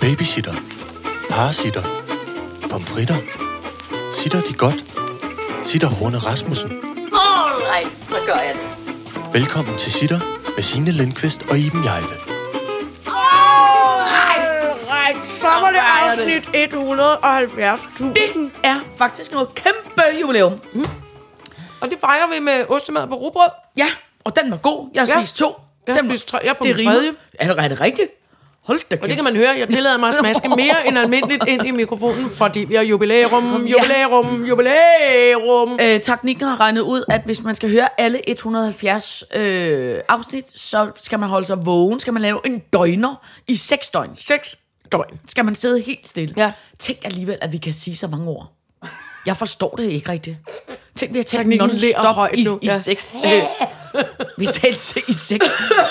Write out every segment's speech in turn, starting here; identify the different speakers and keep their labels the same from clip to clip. Speaker 1: Babysitter. Parasitter. Pomfritter. Sitter de godt? Sitter Horne Rasmussen.
Speaker 2: Alright, så gør jeg det.
Speaker 1: Velkommen til Sitter med Signe Lindqvist og Iben Jejle.
Speaker 3: Alright, så var det
Speaker 4: Hvor er det?
Speaker 3: afsnit 170.000.
Speaker 4: Det er faktisk noget kæmpe jubilæum.
Speaker 3: Og det fejrer vi med ostemad på rugbrød.
Speaker 4: Ja, og den var god. Jeg har
Speaker 3: Ja.
Speaker 4: spist to.
Speaker 3: Jeg har
Speaker 4: Den var-
Speaker 3: spist tre. Jeg er på
Speaker 4: det
Speaker 3: min
Speaker 4: rimer.
Speaker 3: tredje.
Speaker 4: Er det, er det rigtigt? Hold da kæft.
Speaker 3: Og det kan man høre, jeg tillader mig at smaske mere end almindeligt ind i mikrofonen, fordi vi har jubilæum, jubilæum, jubilæum.
Speaker 4: Øh, teknikken har regnet ud, at hvis man skal høre alle 170 øh, afsnit, så skal man holde sig vågen. Skal man lave en døgner i seks døgn.
Speaker 3: Seks døgn.
Speaker 4: Skal man sidde helt stille.
Speaker 3: Ja.
Speaker 4: Tænk alligevel, at vi kan sige så mange ord. Jeg forstår det ikke rigtigt. Tænk, vi har talt
Speaker 3: Teknikken ler
Speaker 4: non-stop
Speaker 3: højt
Speaker 4: i,
Speaker 3: nu,
Speaker 4: i
Speaker 3: ja.
Speaker 4: seks. Øh, vi har talt se- i seks,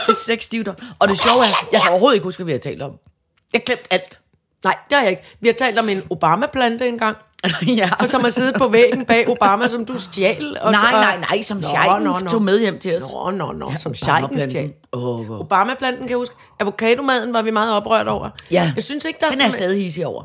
Speaker 4: i seks stivter. Og det sjove er, jeg kan overhovedet ikke huske, hvad vi har talt om. Jeg glemte alt.
Speaker 3: Nej, det har jeg ikke. Vi har talt om en Obama-plante engang,
Speaker 4: ja.
Speaker 3: og som har siddet på væggen bag Obama, som du stjal. Og
Speaker 4: Nej, nej, nej, som Sheikhen tog med hjem til os.
Speaker 3: Nå, nå, nå, som Sheikhen
Speaker 4: Obama-planten.
Speaker 3: stjal.
Speaker 4: Åh, hvor-
Speaker 3: Obama-planten, kan jeg huske. Avocadomaden var vi meget oprørt over.
Speaker 4: Ja.
Speaker 3: Jeg synes ikke, der
Speaker 4: Den er jeg
Speaker 3: simpelthen-
Speaker 4: stadig hissig over.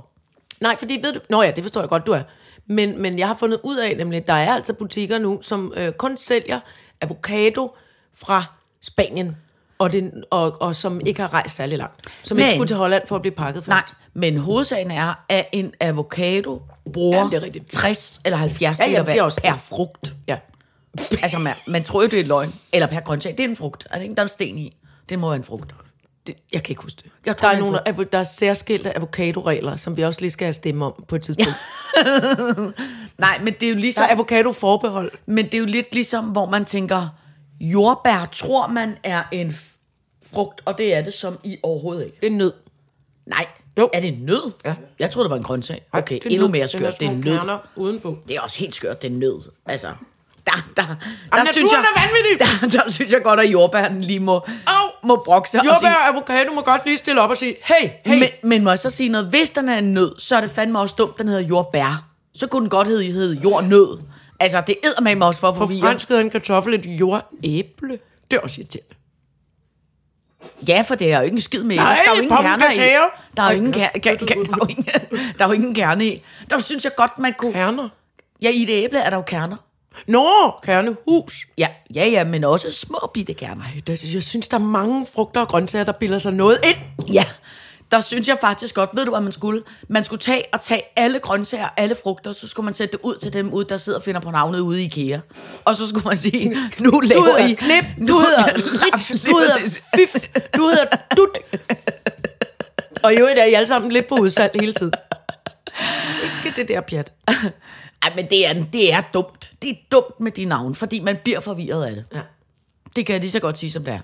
Speaker 3: Nej, fordi ved du... Nå ja, det forstår jeg godt, du er. Men, men jeg har fundet ud af nemlig, at der er altså butikker nu, som øh, kun sælger avocado fra Spanien. Og, det, og, og som ikke har rejst særlig langt. Som men, ikke
Speaker 4: Men-
Speaker 3: skulle til Holland for at blive pakket først.
Speaker 4: Nej, men hovedsagen er, at en avocado bruger
Speaker 3: Ja, det er rigtigt.
Speaker 4: 60 eller 70
Speaker 3: Ja, ja,
Speaker 4: liter
Speaker 3: det er
Speaker 4: vand
Speaker 3: også-
Speaker 4: per frugt.
Speaker 3: Ja.
Speaker 4: Altså, man, man tror jo, det er løgn. Eller per grøntsag. Det er en frugt. Er det ikke, der er en sten i? Det må være en frugt.
Speaker 3: Det, jeg kan ikke huske det.
Speaker 4: Jeg
Speaker 3: der,
Speaker 4: tror,
Speaker 3: er
Speaker 4: man
Speaker 3: nogle, avo- der er særskilte avocadoregler, som vi også lige skal have stemme om på et tidspunkt. Ja.
Speaker 4: Nej, men det er jo
Speaker 3: Der
Speaker 4: ligesom,
Speaker 3: er avocadoforbehold.
Speaker 4: men det er jo lidt ligesom, hvor man tænker, jordbær tror man er en f- frugt, og det er det som i overhovedet ikke.
Speaker 3: Det er nød.
Speaker 4: Nej,
Speaker 3: Jo.
Speaker 4: jo. er det en nød? Ja. Jeg troede, det var en grøntsag. Okay,
Speaker 3: det er
Speaker 4: endnu
Speaker 3: nød.
Speaker 4: mere
Speaker 3: Den
Speaker 4: skørt, det er
Speaker 3: sådan
Speaker 4: en
Speaker 3: nogle
Speaker 4: nød.
Speaker 3: kerner udenpå.
Speaker 4: Det er også helt skørt, det er nød. Altså, der, der, der,
Speaker 3: naturen er vanvittig!
Speaker 4: Der, der synes jeg godt, at jordbærden lige må,
Speaker 3: Au!
Speaker 4: må brokke sig. og sige-
Speaker 3: Jordbær og avocado må godt lige stille op og sige, hey, hey.
Speaker 4: Men, men må jeg så sige noget? Hvis den er en nød, så er det fandme også dumt, den hedder jordbær. Så kunne den godt hedde, hedde jordnød. Altså, det æder man også for at
Speaker 3: På
Speaker 4: forvirre.
Speaker 3: fransk hedder en kartoffel et jordæble. Det er også irriterende.
Speaker 4: Ja, for det er jo ikke en skid med.
Speaker 3: Nej,
Speaker 4: der er jo ingen
Speaker 3: pommes
Speaker 4: kerner i.
Speaker 3: frites.
Speaker 4: Der er
Speaker 3: Ej,
Speaker 4: jo ingen,
Speaker 3: jeg
Speaker 4: ker- ker- ker- der er jo ingen, der er jo ingen kerne i. Der synes jeg godt, man kunne...
Speaker 3: Kerner.
Speaker 4: Ja, i et æble er der jo kerner.
Speaker 3: Nå, kernehus.
Speaker 4: Ja, ja, ja, men også små bitte kerner.
Speaker 3: Ej, der, jeg synes, der er mange frugter og grøntsager, der piller sig noget ind.
Speaker 4: Ja, der synes jeg faktisk godt, ved du hvad man skulle? Man skulle tage og tage alle grøntsager, alle frugter, så skulle man sætte det ud til dem ud, der sidder og finder på navnet ude i IKEA. Og så skulle man sige, nu laver
Speaker 3: hedder
Speaker 4: I...
Speaker 3: Knip,
Speaker 4: nu
Speaker 3: du hedder
Speaker 4: Rit,
Speaker 3: Du hedder Fif, du hedder Dut. Og i øvrigt er I alle sammen lidt på udsalg hele tiden. Ikke det der pjat.
Speaker 4: Ej, men det er, det er dumt. Det er dumt med de navne, fordi man bliver forvirret af det.
Speaker 3: Ja.
Speaker 4: Det kan jeg lige så godt sige, som det er.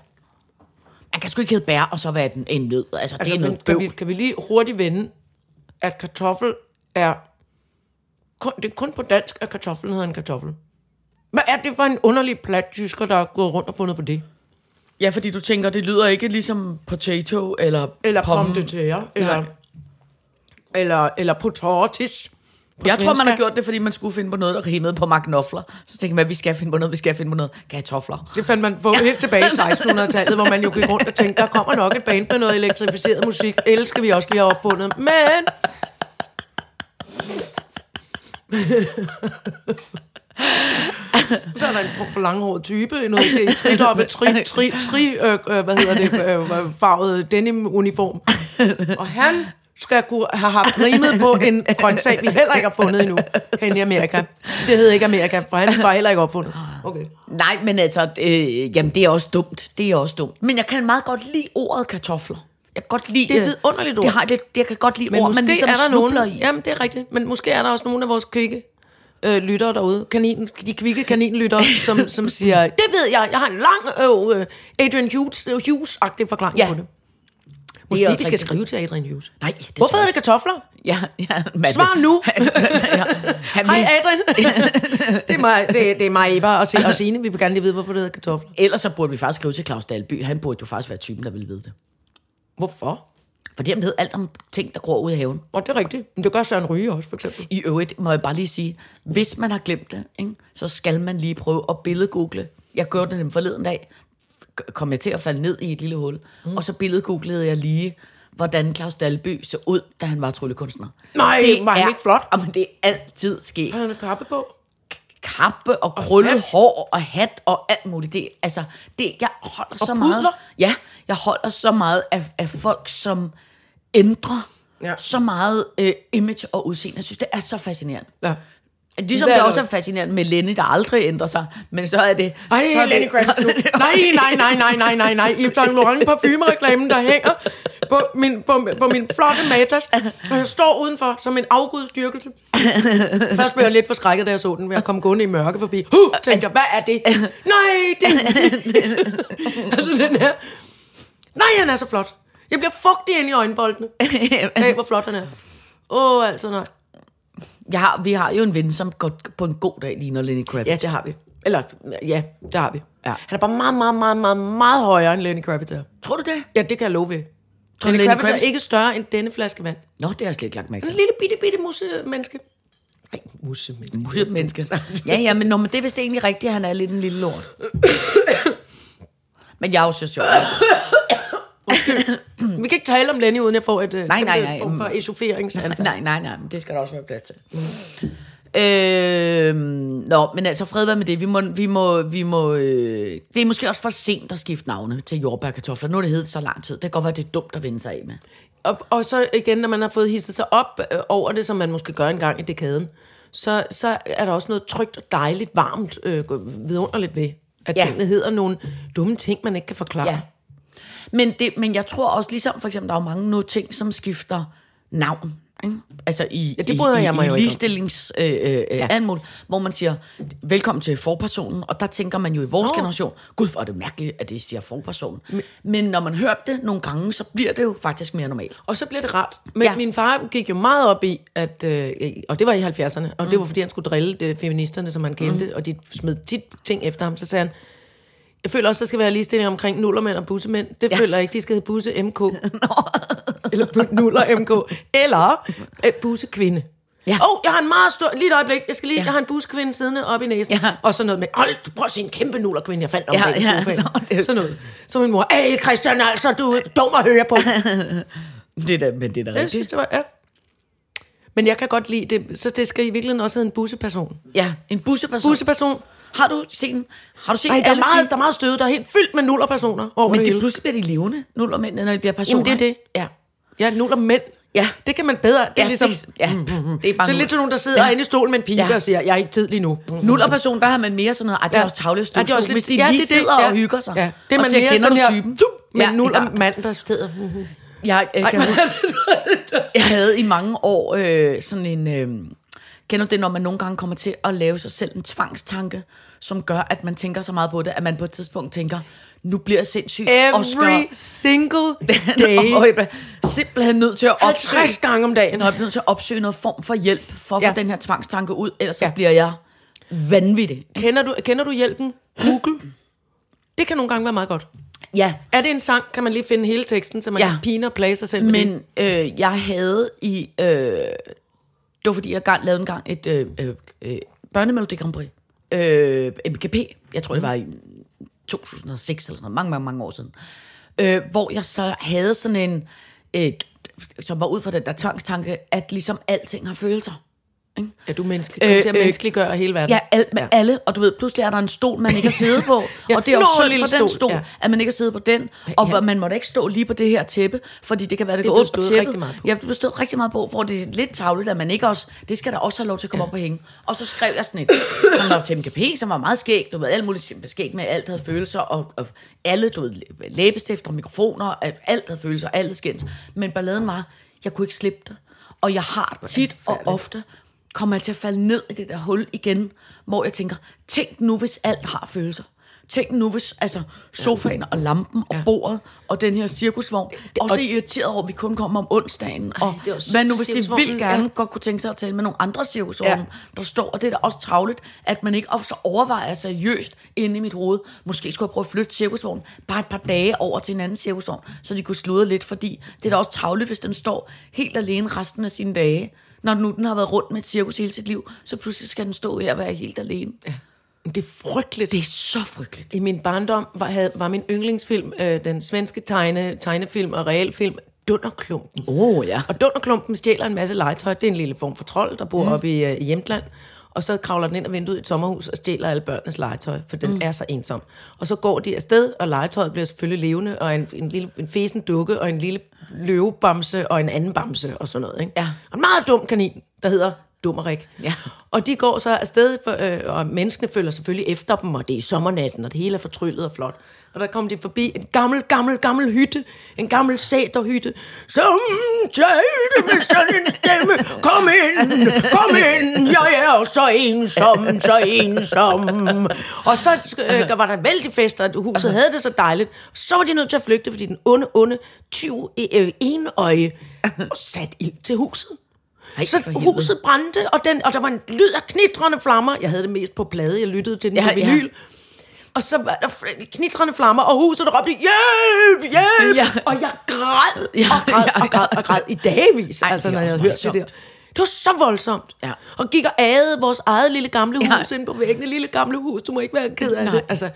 Speaker 4: Man kan sgu ikke hedde bær, og så være den en nød. Altså, altså det
Speaker 3: Altså,
Speaker 4: er
Speaker 3: men
Speaker 4: noget
Speaker 3: kan,
Speaker 4: bøv.
Speaker 3: vi, kan vi lige hurtigt vende, at kartoffel er... Kun, det er kun på dansk, at kartoflen hedder en kartoffel. Hvad er det for en underlig plat tysker, der er gået rundt og fundet på det?
Speaker 4: Ja, fordi du tænker, det lyder ikke ligesom potato eller...
Speaker 3: Eller
Speaker 4: pomme.
Speaker 3: pomme de terre, eller, eller, eller på tortis. På
Speaker 4: Jeg tror, man har
Speaker 3: svenska.
Speaker 4: gjort det, fordi man skulle finde på noget, der rimede på magnofler. Så tænkte man, vi skal finde på noget, vi skal finde på noget. Kartofler.
Speaker 3: Det fandt man på helt tilbage i 1600-tallet, hvor man jo gik rundt og tænkte, der kommer nok et band med noget elektrificeret musik. Elsker vi også lige have opfundet. Men Så er der en form for langhåret type, noget til en tridoppe, tri, tri, tri, øh, øh, hvad hedder det, øh, øh, farvet denim-uniform. Og han skal kunne have haft rimet på en grøntsag, vi heller ikke har fundet endnu, hen i Amerika. Det hedder ikke Amerika, for han var heller ikke opfundet. Okay.
Speaker 4: Nej, men altså, øh, jamen, det er også dumt. Det er også dumt. Men jeg kan meget godt lide ordet kartofler. Jeg kan godt lide...
Speaker 3: Det er et
Speaker 4: øh,
Speaker 3: vidunderligt ord.
Speaker 4: Det har, det, jeg kan godt lide
Speaker 3: Men
Speaker 4: ord,
Speaker 3: måske
Speaker 4: man ligesom
Speaker 3: er der
Speaker 4: snubler
Speaker 3: nogen,
Speaker 4: i.
Speaker 3: Jamen, det er rigtigt. Men måske er der også nogle af vores kvikke øh, lyttere derude. Kanin, de kvikke kaninlyttere, som, som siger, det ved jeg, jeg har en lang øh, øh, Adrian Hughes, øh, Hughes-agtig forklaring
Speaker 4: Ja.
Speaker 3: på det.
Speaker 4: er
Speaker 3: Måske de
Speaker 4: også
Speaker 3: skal
Speaker 4: rigtigt.
Speaker 3: skrive til Adrian Hughes.
Speaker 4: Nej, det
Speaker 3: Hvorfor
Speaker 4: tror
Speaker 3: er
Speaker 4: jeg
Speaker 3: det kartofler?
Speaker 4: Ja, ja, Malte.
Speaker 3: Svar nu!
Speaker 4: ja, han
Speaker 3: Hej
Speaker 4: vil,
Speaker 3: Adrian! det, er mig, det, det er mig, Eva og, og Signe. Vi vil gerne lige vide, hvorfor det hedder kartofler.
Speaker 4: ellers så burde vi faktisk skrive til Claus Dalby. Han burde jo faktisk være typen, der ville vide det.
Speaker 3: Hvorfor?
Speaker 4: Fordi han ved alt om ting, der gror ud i haven.
Speaker 3: Og det er rigtigt. Men det gør Søren Ryge også, for eksempel.
Speaker 4: I øvrigt må jeg bare lige sige, hvis man har glemt det, ikke, så skal man lige prøve at billedgoogle. Jeg gjorde det den forleden dag, K- kom jeg til at falde ned i et lille hul, mm. og så billedgooglede jeg lige, hvordan Claus Dalby så ud, da han var tryllekunstner.
Speaker 3: Nej, var han
Speaker 4: er-
Speaker 3: ikke flot?
Speaker 4: Jamen, det er altid sket.
Speaker 3: Havde han en kappe på?
Speaker 4: kappe og krøllet
Speaker 3: hat.
Speaker 4: hår og hat og alt muligt. Det, altså, det, jeg holder så meget...
Speaker 3: pudler.
Speaker 4: Ja, jeg holder så meget af, af folk, som ændrer
Speaker 3: Ja.
Speaker 4: ja. så meget øh, image og udseende. Jeg synes, det er så fascinerende.
Speaker 3: Ja.
Speaker 4: Ligesom
Speaker 3: Det
Speaker 4: det,
Speaker 3: er
Speaker 4: det
Speaker 3: det
Speaker 4: også er
Speaker 3: også.
Speaker 4: fascinerende med Lenny, der aldrig ændrer sig. Men så er det...
Speaker 3: Ej,
Speaker 4: så er
Speaker 3: Lenny
Speaker 4: det, så er
Speaker 3: Kravitz,
Speaker 4: det,
Speaker 3: du. Nej, nej, nej, nej, nej, nej, nej. Yves Saint Laurent parfumereklamen, der hænger på min, på, på min flotte matas, og jeg står udenfor som en afgudstyrkelse. Først blev jeg lidt forskrækket, da jeg så den, ved at komme gående i mørke forbi. Huh, tænkte jeg, hvad er det? Nej, det Altså den her. Nej, han er så flot. Jeg bliver fugtig ind i øjenboldene. Hey, hvor flot han er. Åh, oh, altså nej.
Speaker 4: jeg har, vi har jo en ven, som godt på en god dag ligner Lenny Kravitz.
Speaker 3: Ja,
Speaker 4: Ja.
Speaker 3: det har vi. Eller, ja, det har vi. Ja. Han er bare meget, meget, meget, meget, meget højere end Lenny Kravitz er.
Speaker 4: Tror du det?
Speaker 3: Ja, det kan jeg love ved.
Speaker 4: Tror du,
Speaker 3: Lenny
Speaker 4: Lenny
Speaker 3: Kravitz er
Speaker 4: Kravitz-
Speaker 3: ikke større end denne flaske vand.
Speaker 4: Nå, det har jeg slet ikke lagt mærke
Speaker 3: En
Speaker 4: til.
Speaker 3: lille bitte, bitte musse-menneske. Nej, musse-menneske.
Speaker 4: menneske. ja, ja, men, nå, men det er vist egentlig rigtigt, at han er lidt en lille lort. men jeg er jo så sjov.
Speaker 3: Mm. Vi kan ikke tale om Lenny, uden jeg får et øh,
Speaker 4: Nej, nej,
Speaker 3: kæmpe
Speaker 4: nej. Mm.
Speaker 3: form for
Speaker 4: Nej,
Speaker 3: esoferingsanfald.
Speaker 4: nej, nej, nej, men det skal der også være plads til. Øhm, nå, men altså fred være med det. Vi må, vi må, vi må, øh, det er måske også for sent at skifte navne til jordbærkartofler. Nu har det heddet så lang tid. Det kan godt være, det er dumt at vende sig af med.
Speaker 3: Og, og så igen, når man har fået hisset sig op øh, over det, som man måske gør en gang i dekaden, så, så er der også noget trygt og dejligt, varmt, øh, vidunderligt ved, at ja.
Speaker 4: Ja.
Speaker 3: tingene hedder nogle dumme ting, man ikke kan forklare.
Speaker 4: Ja. Men, det, men jeg tror også, ligesom for eksempel, der er jo mange nu ting, som skifter navn. Ikke? Altså i,
Speaker 3: Ja, det
Speaker 4: i-
Speaker 3: bryder
Speaker 4: i,
Speaker 3: jeg mig
Speaker 4: i
Speaker 3: jo ikke om.
Speaker 4: ligestillings øh, øh, ja. alt muligt, hvor man siger, velkommen til forpersonen, og der tænker man jo i vores
Speaker 3: Nå.
Speaker 4: oh. generation, gud hvor er det mærkeligt, at det siger forpersonen. Men, men når man hørt det nogle gange, så bliver det jo faktisk mere normalt.
Speaker 3: Og så blev det rart. Men ja.
Speaker 4: Ja.
Speaker 3: min far gik jo meget op i, at, øh, og det var i 70'erne, og det var fordi, han skulle drille øh, feministerne, som han kendte, mm. og de smed tit ting efter ham. Så sagde han, jeg føler også, der skal være ligestilling omkring nullermænd og bussemænd. Det ja. føler jeg ikke, de skal hedde busse MK. eller bu- nuller MK. Eller øh, bussekvinde. Ja.
Speaker 4: Ja.
Speaker 3: Oh, jeg har en meget stor... Lige et øjeblik. Jeg skal lige... Ja. Jeg har en buskvinde siddende oppe i næsen. Ja.
Speaker 4: Ja.
Speaker 3: Og sådan noget med... Hold, prøv at se en kæmpe nullerkvinde, jeg fandt om
Speaker 4: Ja,
Speaker 3: ja, i
Speaker 4: ja.
Speaker 3: sofaen.
Speaker 4: Nå, det
Speaker 3: Ja.
Speaker 4: er-
Speaker 3: Sådan noget. Så min mor... Hey, Christian, altså, du er dum at høre på.
Speaker 4: Det er da, men det er da
Speaker 3: Jeg synes, det var, ja. Men jeg kan godt lide det, så det skal i virkeligheden også hedde en busseperson.
Speaker 4: Ja, en busseperson.
Speaker 3: Busseperson.
Speaker 4: Har du set, den? har du set
Speaker 3: Ej, der er,
Speaker 4: alle
Speaker 3: meget,
Speaker 4: de-
Speaker 3: der er meget støde, der er helt fyldt med nullerpersoner over
Speaker 4: men
Speaker 3: det
Speaker 4: det,
Speaker 3: hele.
Speaker 4: pludselig bliver de levende, nullermændene, når de bliver personer.
Speaker 3: Jamen, det er det.
Speaker 4: ikke? Ja.
Speaker 3: Ja, nullermænd.
Speaker 4: Ja.
Speaker 3: Det kan man bedre. Det er ja, ligesom... Det,
Speaker 4: ja, pff, det er bare
Speaker 3: så er det lidt sådan nogen, der sidder ja. inde i stolen med en pibe ja.
Speaker 4: Ja.
Speaker 3: og siger, jeg er ikke tid lige nu. Mm.
Speaker 4: Nul og person, der har man mere sådan noget, ej, det er
Speaker 3: Ja.
Speaker 4: også tavle
Speaker 3: Ja, det er også lidt-
Speaker 4: hvis de
Speaker 3: ja,
Speaker 4: ja, lige
Speaker 3: det er det,
Speaker 4: sidder
Speaker 3: ja.
Speaker 4: ja. og hygger sig.
Speaker 3: Ja. Det er
Speaker 4: og
Speaker 3: man
Speaker 4: siger,
Speaker 3: mere
Speaker 4: kender
Speaker 3: sådan
Speaker 4: du
Speaker 3: her,
Speaker 4: typen?
Speaker 3: Men ja,
Speaker 4: ja.
Speaker 3: nullermand, der sidder... Mhm.
Speaker 4: Jeg, øh,
Speaker 3: Ej,
Speaker 4: kan, jeg havde i mange år øh, sådan en... Øh, kender du det, når man nogle gange kommer til at lave sig selv en tvangstanke, som gør, at man tænker så meget på det, at man på et tidspunkt tænker, nu bliver jeg sindssyg og
Speaker 3: Every
Speaker 4: skal...
Speaker 3: single day.
Speaker 4: og jeg bliver simpelthen nødt til at opsøge...
Speaker 3: 50 gange om dagen.
Speaker 4: Når jeg bliver nødt til at opsøge noget form for hjælp for at
Speaker 3: Ja.
Speaker 4: få den her tvangstanke ud, ellers så
Speaker 3: Ja.
Speaker 4: bliver jeg vanvittig.
Speaker 3: Kender du, kender du hjælpen? Google? Det kan nogle gange være meget godt.
Speaker 4: Ja,
Speaker 3: Er det en sang, kan man lige finde hele teksten, så man ja.
Speaker 4: Ja.
Speaker 3: kan pine og plage sig selv med det?
Speaker 4: Men øh, jeg havde i... Øh, det var fordi, jeg gang, lavede en gang et øh, øh, øh, børnemelodi Grand Prix. Øh, MGP. Jeg tror, det var i 2006 eller sådan noget. Mange, mange, mange år siden. Øh, hvor jeg så havde sådan en... Øh, som var ud fra den der tvangstanke, at ligesom alting har følelser.
Speaker 3: Er du menneske? Kom øh, til at
Speaker 4: Øh, øh,
Speaker 3: menneskeliggøre hele verden.
Speaker 4: Ja, al, med alle, og du ved, pludselig er der en stol, man ikke har siddet på,
Speaker 3: Ja,
Speaker 4: ja, og det er jo
Speaker 3: nå, en
Speaker 4: synd
Speaker 3: lille
Speaker 4: for
Speaker 3: stol,
Speaker 4: den stol,
Speaker 3: ja.
Speaker 4: ja. at man ikke har siddet på den, og
Speaker 3: ja.
Speaker 4: ja. man må da ikke stå lige på det her tæppe, fordi det kan være, det,
Speaker 3: Det
Speaker 4: går
Speaker 3: blev
Speaker 4: ondt på
Speaker 3: stået
Speaker 4: tæppet.
Speaker 3: rigtig meget på.
Speaker 4: Ja, det blev stået rigtig meget på, hvor det er lidt tavlet, at man ikke også, det skal der også have lov til at komme ja. op og hænge. Og så skrev jeg sådan et, som var til MKP, som var meget skæg, du ved, alt muligt skæg med, alt havde følelser, og, og alle, du ved, læbestifter, mikrofoner, at alt havde følelser, alt skændt. Men balladen var, jeg kunne ikke slippe det. Og jeg har tit og ofte kommer jeg til at falde ned i det der hul igen, hvor jeg tænker, tænk nu, hvis alt har følelser. Tænk nu, hvis altså, sofaen og lampen og bordet og den her cirkusvogn. Og så irriteret over, at vi kun kommer om onsdagen. Og
Speaker 3: det er også
Speaker 4: hvad
Speaker 3: synd
Speaker 4: nu,
Speaker 3: for
Speaker 4: hvis de
Speaker 3: cirkusvognen,
Speaker 4: vil gerne
Speaker 3: ja.
Speaker 4: ja. godt kunne tænke sig at tale med nogle andre cirkusvogne,
Speaker 3: Ja.
Speaker 4: ja. der står, og det er da også travligt, at man ikke også overvejer seriøst inde i mit hoved. Måske skulle jeg prøve at flytte cirkusvognen bare et par dage over til en anden cirkusvogn, så de kunne sludre lidt, fordi det er da også travligt, hvis den står helt alene resten af sine dage. Når nu den har været rundt med et cirkus hele sit liv, så pludselig skal den stå her og være helt alene. Ja.
Speaker 3: Men det er frygteligt. Det er
Speaker 4: Så frygteligt.
Speaker 3: I min barndom var, havde, var min yndlingsfilm, øh, den svenske tegne, tegnefilm og realfilm, Dunderklumpen.
Speaker 4: Åh, oh, ja.
Speaker 3: Og Dunderklumpen stjæler en masse legetøj. Det er en lille form for trold, der bor mm. oppe i, øh, i Hjemtland. Og så kravler den ind og vinduet i et sommerhus og stjæler alle børnenes legetøj, for den mm. er så ensom. Og så går de afsted, og legetøjet bliver selvfølgelig levende, og en, en, lille, en fesen dukke, og en lille løvebamse, og en anden bamse, og sådan noget. Ikke?
Speaker 4: Ja.
Speaker 3: Og en meget dum kanin, der hedder Dummerik.
Speaker 4: Ja.
Speaker 3: Og de går så afsted, for, øh, og menneskene følger selvfølgelig efter dem, og det er i sommernatten, og det hele er fortryllet og flot. Og der kom de forbi en gammel, gammel, gammel hytte, en gammel sæterhytte, som talte med sådan en stemme, kom ind, kom ind, jeg er så ensom, så ensom. Og så øh, der var der vældig fest, og huset havde det så dejligt. Så var de nødt til at flygte, fordi den onde, onde, tyv, øh, enøje, satte ild til huset.
Speaker 4: Ej,
Speaker 3: Så
Speaker 4: for helvede.
Speaker 3: huset brændte, og, den, og der var en lyd af knitrende flammer. Jeg havde det mest på plade, jeg lyttede til den
Speaker 4: Ja,
Speaker 3: ja, på
Speaker 4: ja.
Speaker 3: vinyl. Og så var der fl- knitrende flammer, og huset der råbte, hjælp, hjælp!
Speaker 4: Ja.
Speaker 3: Ja. Og jeg græd, og græd,
Speaker 4: ja,
Speaker 3: og græd, og græd i dagevis, Ej,
Speaker 4: Ej, det
Speaker 3: altså,
Speaker 4: er
Speaker 3: når jeg
Speaker 4: også
Speaker 3: havde hørt det der.
Speaker 4: voldsomt.
Speaker 3: Det var så voldsomt.
Speaker 4: Ja.
Speaker 3: Og gik og agede vores eget lille gamle
Speaker 4: Ja.
Speaker 3: hus ja. inde på væggene. Lille gamle hus, du må ikke være ked af
Speaker 4: Nej.
Speaker 3: det. Altså,